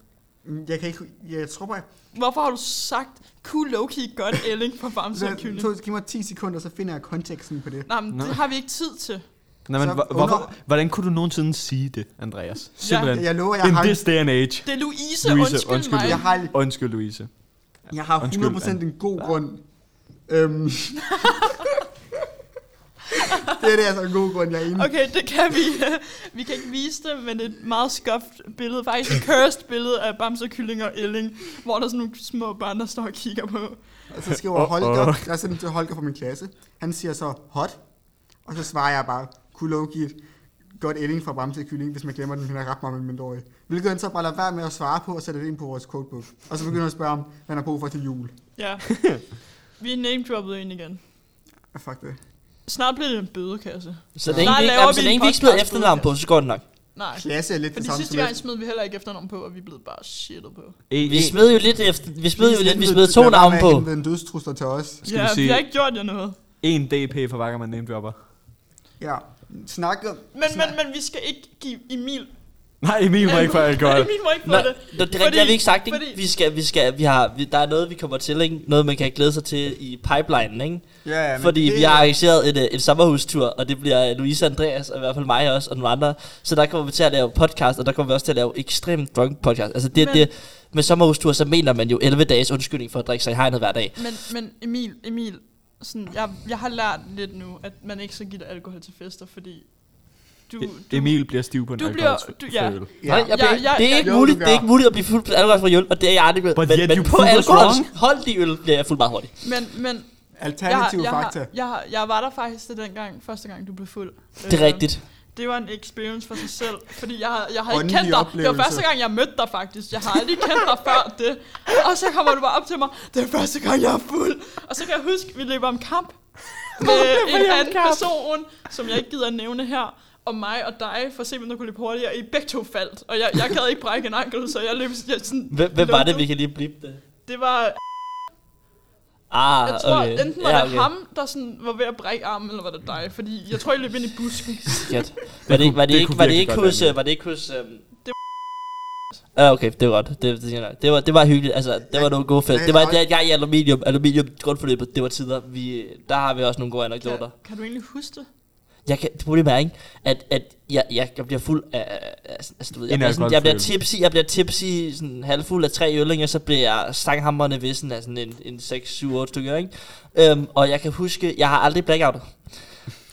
jeg kan ikke, jeg tror bare, Hvorfor har du sagt, kunne Loki godt ælling på Bams og Kylling? to, giv mig 10 sekunder, så finder jeg konteksten på det. Nej, men Nå. det har vi ikke tid til. Nej, men Så hvor, under- hvorfor, hvordan kunne du nogensinde sige det, Andreas? Simpelthen. Jeg lover, jeg In har, this day and age. Det er Louise, Louise, undskyld, undskyld. mig. jeg har, Undskyld, Louise. jeg har Undskyld, 100% en god grund. Øhm. det er det altså en god grund, jeg er enig. Okay, det kan vi. Vi kan ikke vise det, men et meget skuffet billede, faktisk et cursed billede af Bamse, Kylling og Elling, hvor der er sådan nogle små børn, der står og kigger på. Og så skriver Uh-oh. Holger, jeg har sendt den til Holger fra min klasse. Han siger så, hot. Og så svarer jeg bare, kunne Loki give et godt ending fra Bamse Kylling, hvis man glemmer den, men er ret meget med mindreårig. Hvilket han så bare lader være med at svare på og sætter det ind på vores codebook. Og så begynder jeg at spørge om, hvad han har brug for til jul. Ja. Vi er name ind igen. Ah, fuck det. Snart bliver det en bødekasse. Så ligesom- Nej, længe vi ikke, laver jamen, så vi en længe vi ikke smider podcast efternavn på, så går det nok. Nej. Klasse er lidt det Fordi samme sidste som gang efter. smed vi heller ikke efternavn på, og vi blev bare shitet på. E- Vi e- smed jo lidt efter, vi smed jo lidt, vi Helvede, smed to lad være navne med at på. henvende en dødstrusler til os. Skal ja, vi sige- vi har ikke gjort jer noget. en DP for Wackerman Name Dropper. Ja, snak om... Men, men, men vi skal ikke give Emil... Nej, Emil må ikke få alkohol. Emil må ikke få Nå, det. Nå, det er rigtigt, det har vi ikke sagt, ikke? fordi- Vi skal, vi skal, vi har, vi, der er noget, vi kommer til, ikke? Noget, man kan glæde sig til i pipelinen, ikke? Ja, ja, men Fordi det, vi har arrangeret en, øh, en sommerhustur, og det bliver øh, Louise og Andreas, og i hvert fald mig også, og nogle andre. Så der kommer vi til at lave podcast, og der kommer vi også til at lave ekstremt drunk podcast. Altså det, Men- men, det med sommerhustur, så mener man jo 11 dages undskyldning for at drikke sig i hegnet hver dag. Men, men Emil, Emil, sådan, jeg, jeg har lært lidt nu, at man ikke så giver alkohol til fester, fordi du... du E- Emil bliver stiv på en du bliver- alkoholsføl. du- ja. Ja. Nej, jeg, bliver Ja, ikke- ja, det er ja. ikke Jo, muligt, du det er gør. ikke muligt at blive fuld på alkohol fra øl, og det er jeg aldrig blevet. But Men, yet men you på prove us alkohol, wrong. hold de øl, bliver jeg fuld meget hurtigt. Men, men jeg, Alternative jeg, fakta. har, jeg, har, jeg var der faktisk det dengang, første gang du blev fuld. Altså, Det er rigtigt. Det var en experience for sig selv, fordi jeg, jeg har ikke Åndelig kendt dig. Det oplevelse. var første gang, jeg mødte dig faktisk. Jeg har aldrig kendt dig før det. Og så kommer du bare op til mig, det er første gang, jeg er fuld. Og så kan jeg huske, vi løber om kamp med en anden person, som jeg ikke gider at nævne her, og mig og dig, for at se, hvem der kunne løbe hurtigere. I begge to faldt, og jeg, jeg gad ikke brække en ankel, så jeg løb jeg sådan... Hvem, hvem var det, lukkede. vi kan lige blive det? Det var Ah, Jeg tror, okay. okay. enten var ja, okay. det ham, der sådan var ved at brække armen, eller var det dig? Fordi jeg tror, I løb ind i busken. Skat. Var det, ikke- var det, det ikke, øh, kunne var det virkelig ikke godt hos, være øh, var det ikke hos, øhm, Det Ja, okay, det var godt. Det, det, siger jeg nok. det, var, det var hyggeligt. Altså, det var nogle gode fest. Det var det, jeg i aluminium, aluminium grundforløbet. Det var tider. Vi, der har vi også nogle gode anekdoter. Kan, kan du egentlig huske det? Jeg kan, det problemet er, ikke, at, at jeg, jeg, jeg bliver fuld af... Altså, du ved, jeg, En bliver sådan, jeg bliver alkoholfølelse. tipsy, jeg bliver tipsy sådan halvfuld af tre øl, ikke, og så bliver jeg stanghammerne ved sådan, af sådan en, en 6-7-8 stykker, ikke? Øhm, og jeg kan huske, jeg har aldrig blackoutet.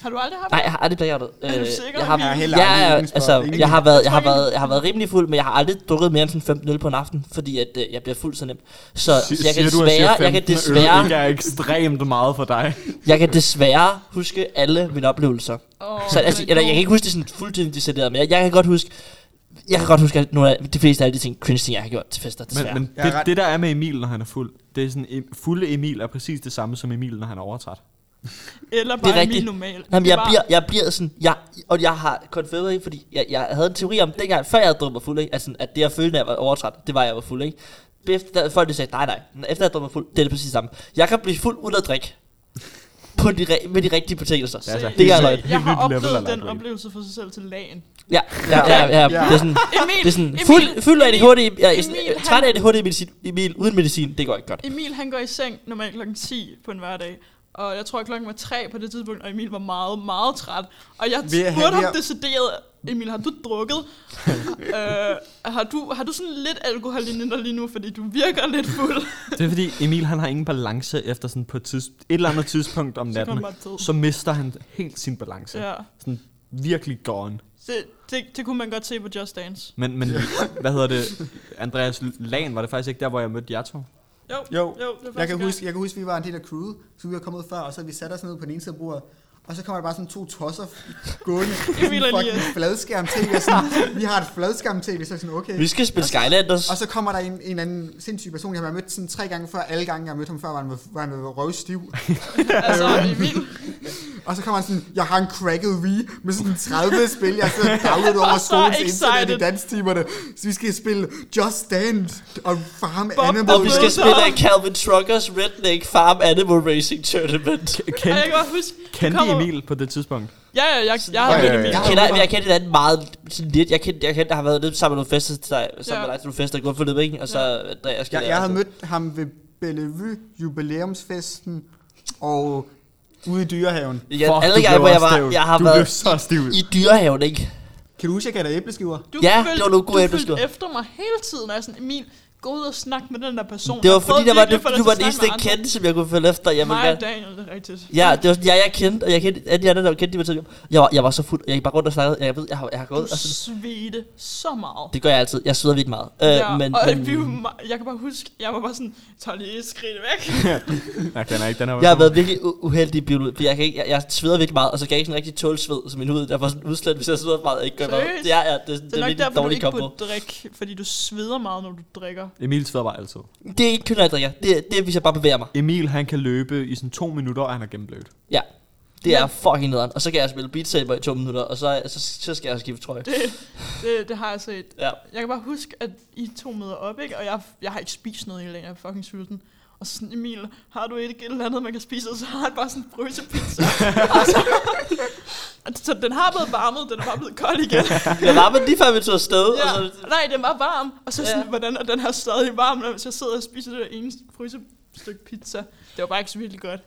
Har du aldrig haft Nej, jeg har aldrig blackoutet. Er du sikker, Jeg har, Emil? Jeg er heller aldrig jeg, uden spot. altså, Ingen- jeg, har været, jeg, har Jeg tror ikke- været, jeg har været rimelig fuld, men jeg har aldrig drukket mere end sådan 15 øl på en aften, fordi at, øh, jeg bliver fuld så nemt. Så, så jeg, kan desværre, jeg kan desværre, Det er ekstremt meget for dig. jeg kan desværre huske alle mine oplevelser. Oh, Så, altså, eller, jeg kan ikke huske det sådan fuldstændig decideret, men jeg, jeg kan godt huske, jeg kan godt huske at nogle af de fleste af de ting, cringe ting, jeg har gjort til fester, desværre. Men, men Jeg er det, ret- det, der er med Emil, når han er fuld, det er sådan, em- fulde Emil er præcis det samme som Emil, når han er overtræt. Eller bare det er rigtigt. normal. Jamen, Det jeg var- bliver, jeg bliver sådan, jeg, og jeg har konfirmeret, ikke? fordi jeg, jeg havde en teori om dengang, før jeg havde drukket mig fuld, ikke? Altså, at det jeg følte, når jeg var overtræt, det var, at jeg var fuld, ikke? Efter, der, folk de sagde, nej, nej, Når- efter jeg drukket mig fuld, det er det præcis samme. Jeg kan blive fuld uden at drikke. På de, re- med de rigtige betingelser. Ja, altså, det er helt- løgn. helt Jeg nyt har level af oplevet den lightweight. oplevelse for sig selv til lagen. Ja, ja, ja, ja, ja. Ja. Det er sådan, Emil, det er sådan Emil, fuld, fuld af ADHD, jeg er sådan, Emil, øh, træt af han- ADHD medicin, Emil, uden medicin, det går ikke godt. Emil han går i seng normalt klokken 10 på en hverdag. Og jeg tror, at klokken var 3 på det tidspunkt, og Emil var meget, meget træt. Og jeg Vi er- spurgte vi ham er- decideret, Emil, har du drukket? øh, har, du, har du sådan lidt alkohol i dig lige nu, fordi du virker lidt fuld? Det er fordi, Emil han har ingen balance efter sådan på et, tids, et eller andet tidspunkt om Så kan natten. han bare tage. Så mister han helt sin balance. Ja. Sådan virkelig gone. Det, det, det kunne man godt se på Just Dance. Men, men hvad hedder det? Andreas Lan var det faktisk ikke der, hvor jeg mødte jer to? Jo, Jo, jo det var jeg kan, første huske, jeg kan huske, vi var en del af crewet, så vi var kommet før, og så vi satte os ned på den ene side af bordet, og så kommer der bare sådan to tosser gående, sådan Emil og fucking Elias. fladskærm-tv, og sådan, vi har et fladskærm-tv, så er jeg sådan, okay. Vi skal spille Skylanders. Og så kommer der en, en eller anden sindssyg person, jeg har mødt sådan tre gange før, alle gange jeg har mødt ham før, var han, var han røvstiv. gang. Altså, Emil, Og så kommer han sådan, jeg har en cracked Wii med sådan 30 spil, jeg sidder og downloader over Så skolens internet excited. i dansetimerne. Så vi skal spille Just Dance og Farm Bob Animal. Og vi skal Møder. spille af Calvin Truckers Redneck Farm Animal Racing Tournament. og jeg Kendte, kan godt huske... du kendte I kommer- Emil på det tidspunkt? Ja, ja, jeg, jeg har Ja, ja, mødt ja. Emil. Jeg Jeg har kender, aldrig- jeg kender hinanden meget sådan lidt. Jeg kender, jeg kender, der har været lidt sammen med nogle fester til dig, sammen Ja. med dig til nogle fester, gået for lidt, ikke? Og så Ja. Andreas Jeg, kender jeg havde også. mødt ham ved Bellevue jubilæumsfesten og ude i dyrehaven. Igen, alle gange, hvor jeg var, jeg har du blev været så stiv. i dyrehaven, ikke? Kan du huske, jeg gav dig æbleskiver? Du Ja, fulgte- det var nogle gode Du fulgte æbleskiver. efter mig hele tiden, og jeg er sådan, Emil, gå ud og snak med den der person. Det var Jeg prøvede fordi, der var, virkelig at få du, dig du til var at den eneste, snakke med jeg andre. kendte, som jeg kunne følge efter. Jeg ville Mig og gerne, Daniel, det er rigtigt. Ja, det var sådan, jeg, jeg kendte, og jeg kendte, alle de andre, der kendte mig til. Jeg var, jeg var så fuld, jeg gik bare rundt og snakkede, jeg ved, jeg har, jeg har gået, Du og sådan, svedte så meget. altså- det gør jeg altid, jeg sveder vildt meget. Øh, ja, men, og men vi, var me- jeg kan bare huske, jeg var bare sådan, tag lige et skridt væk. Jeg kender ikke den her. jeg har været virkelig u- uheldig i biologi, for jeg, kan ikke, jeg, jeg sveder virkelig meget, og så kan jeg ikke sådan rigtig tåle sved, så min hud der var sådan udslet, hvis jeg sveder meget, og ikke gør noget. Seriøst? Det er, ja, det, det, Det er nok virkelig derfor, du dårlig ikke kombo. burde drikke, fordi du sveder meget, når du drikker. Emil sveder bare altid. Det er ikke kun, når jeg drikker. Det, er- det er, hvis jeg bare bevæger mig. Emil han kan løbe i sådan to minutter, og han er gennemblødt. Ja. Det er Men- fucking nederen. Og så kan jeg spille Beat Saber i to minutter, og så, så, så skal jeg skifte trøje. Det, det, det har jeg set. Ja. Jeg kan bare huske, at I to møder op, ikke? og jeg, jeg har ikke spist noget i længere. Jeg er fucking sulten. Og så sådan, Emil, har du ikke et eller andet, man kan spise? Og så har han bare sådan en frysepizza. Og så, så den har blevet varmet, den er bare blevet kold igen. Jeg var med lige før vi tog afsted, ja. og Ja. så... Nej, den var varm. Og så Ja. sådan, ja. hvordan er den her stadig varm, når jeg sidder og spiser det der ene frysestykke pizza. Det var bare ikke så vildt godt.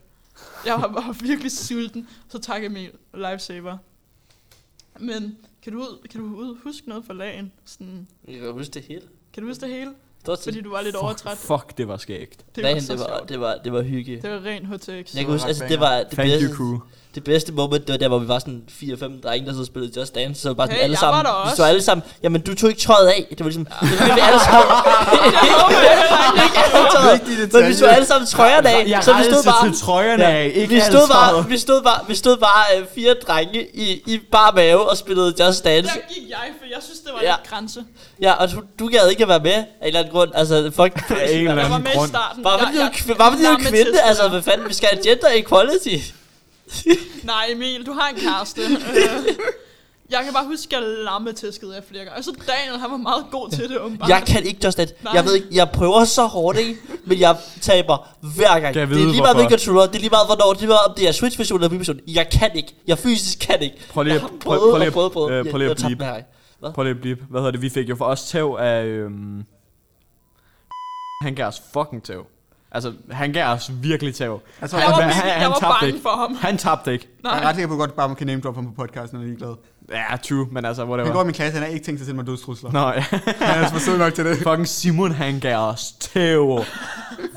Jeg var bare virkelig sulten. Så tak Emil, lifesaver. Men kan du, ud- kan du ud- huske noget fra lagen? Sådan, Jeg kan huske det hele. kan du huske det hele? Stort set. Fordi du var lidt overtræt. Fuck, det var skægt. Det var Dagen, så det, var, sjovt. det, var, det var hygge. Det var ren HTX. Jeg det kan var huske, ret altså, det banger. var det Thank bedste, you, crew. det bedste moment, det var der, hvor vi var sådan 4-5 drenge, der så spillede Just Dance, så var vi bare sådan Hey, alle jeg sammen. var der vi også. så alle sammen, jamen du tog ikke tøjet af. Det var ligesom, så begyndte vi alle sammen. ikke alle tøjet. Vigtige Men vi så detaljer. alle sammen trøjerne af, Jeg så vi stod rejste bare, til trøjerne af, ikke vi stod alt bare, tøjet. vi stod bare, vi stod bare øh, fire drenge i, i bar mave og spillede Just Dance. Der gik jeg, for jeg synes, det var Ja. ja. lidt grænse. Ja, og du, du gad ikke at være med af en eller anden grund. Altså, fuck. Af en eller Jeg var anden med i grund. starten. Bare fordi Jeg- du er jeg- kv- bare fordi du jeg er var med kvinde, til at- altså hvad fanden, vi skal have gender equality. Nej, Emil, du har en kæreste. Øh, jeg kan bare huske, at jeg lammetæskede af flere gange. Og så Daniel, han var meget god til det, åbenbart. Jeg kan ikke just that. Nej. Jeg ved ikke, jeg prøver så hårdt, ikke? Men jeg taber hver gang. Kan jeg det er vide, lige meget hvilken hvorfor? controller, det er lige meget hvornår, det er lige meget om det er Switch-version eller Wii-version. Jeg kan ikke. Jeg fysisk kan ikke. Prøv lige Jeg at har prøv- prøvet prøv og lige at- prøvet og prøvet. øh, Jeg- prøv lige jeg at tabte blive- den her gang. Hvad? Prøv lige at blive. Hvad hedder det? Vi fik jo for os tæv af... Øhm, han gav os fucking tæv. Altså, han gav os virkelig tæv. Jeg tror, Jeg jeg, var, han- virkelig, han jeg var tabte bange ikke. for ham. Han tabte ikke. Altså, jeg Nej. er ret sikker på, at godt bare man kan name drop ham på podcasten, og er ligeglad. Ja, true, men altså, Han går whatever. i min klasse, han har ikke tænkt sig at sende mig dødstrusler. Nå, ja. Han er altså for sød nok til det. fucking Simon, han gav os tæv.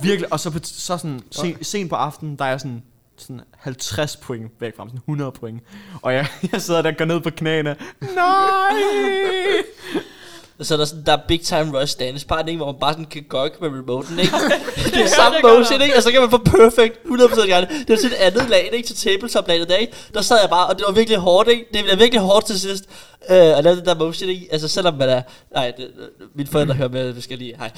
Virkelig, og så, på t- så sådan, sen, sent på aftenen, der er jeg sådan, sådan 50 point væk frem, sådan 100 point. Og jeg, jeg sidder der og går ned på knæene. Nej! Og så er der sådan, der er big time rush dance part, ikke? Hvor man bare sådan kan gogge med remoten, ikke? det er hørte samme jeg godt motion, om. ikke? Og så kan man få perfect 100% gerne. Det var sådan et andet lag, ikke? Til tabletop-laget der, ikke? Der sad jeg bare, og det var virkelig hårdt, ikke? Det var virkelig hårdt til sidst. Øh, at lave den der motion, ikke? Altså selvom man er... Nej, det, mine forældre hører med, vi skal lige... Hej.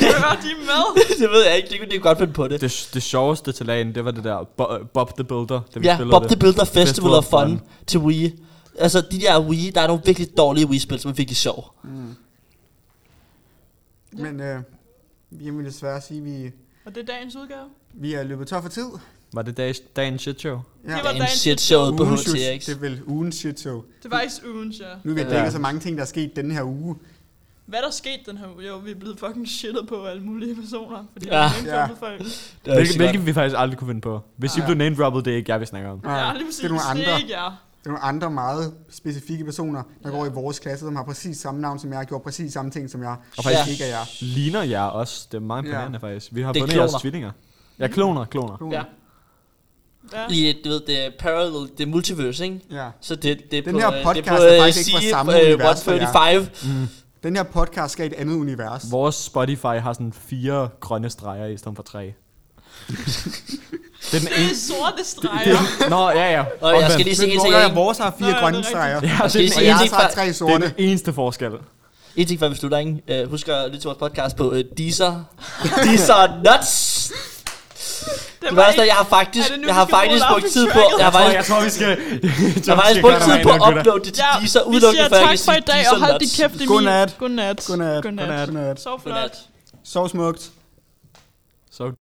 Hører de med? det ved jeg ikke, det kunne de godt finde på det. Det, det sjoveste til lagen, det var det der Bo- Bob the Builder, da vi Ja, spillede Bob det. the Builder Festival Festival of of Fun Fun. til Wii. Altså, de der Wii, der er nogle virkelig dårlige Wii-spil, som er virkelig sjov. Men øh, jeg vil desværre sige, at vi, Og det er dagens udgave. vi er løbet tør for tid. Var det dagens, dagens shit show? Ja. Det Der var er en dagens shit show på Ugens shit- HTX. Det er vel ugens shit show. Det var ikke ugens, ja. Nu er vi Ja. dækket så mange ting, der er sket denne her uge. Hvad der skete den her uge? Jo, vi er blevet fucking shittet på af alle mulige personer. Fordi Ja. ja. vi har Ja. ja. Det er folk. Hvilket, også godt. hvilket vi faktisk aldrig kunne finde på. Ah, Hvis I Nej. blev name-droppet, det er ikke jeg, vi snakker om. Nej, Ja, lige præcis. det er nogle andre. Det er ikke jer. Det er nogle andre meget specifikke personer, der går i vores klasse, som har præcis samme navn som jeg, og gjorde præcis samme ting som jeg. Og Og faktisk faktisk ikke er jeg. Ligner jer også? Det er meget imponerende, faktisk. Vi har Det er bundet jeres kloner. tvillinger. Ja, kloner, kloner. Kloner. Ja. Ja. I, et, du ved, det er parallel, det er multiverse, ikke? Ja. Så det, det er Den på, her øh, det podcast på, er øh, faktisk ikke fra CIE, samme øh, univers for jer. 135. Den her podcast skal i et andet univers. Hvor? Vores Spotify har sådan fire grønne streger i stedet for tre. det er den Det er ene... sorte Det streger. er, nå, ja, ja. Og jeg skal lige sige en ting, jeg Hvor, ikke, vores har fire Nej, grønne det er streger, Ja, jeg skal det, lige og er sige den jeg en har ting, så før, tre en, det sorte. er den eneste forskel. en ting før vi slutter, ikke? Øh, husk at lytte til vores podcast på øh, Deezer. Deezer Nuts! Det Du var ved også, ikke- jeg har faktisk, Er det nu, jeg vi har skal faktisk bruge brugt tid på, lappetrækket? jeg har Tror, faktisk, jeg tror, vi skal... jeg har faktisk brugt tid på at uploade det til Ja, Deezer, vi udelukkende siger for, at jeg kan tak for sige i dag, og Deezer hold din Nuts. kæft, Emil. Godnat. Godnat. Godnat. Godnat. Godnat. Så flot. Så smukt. Så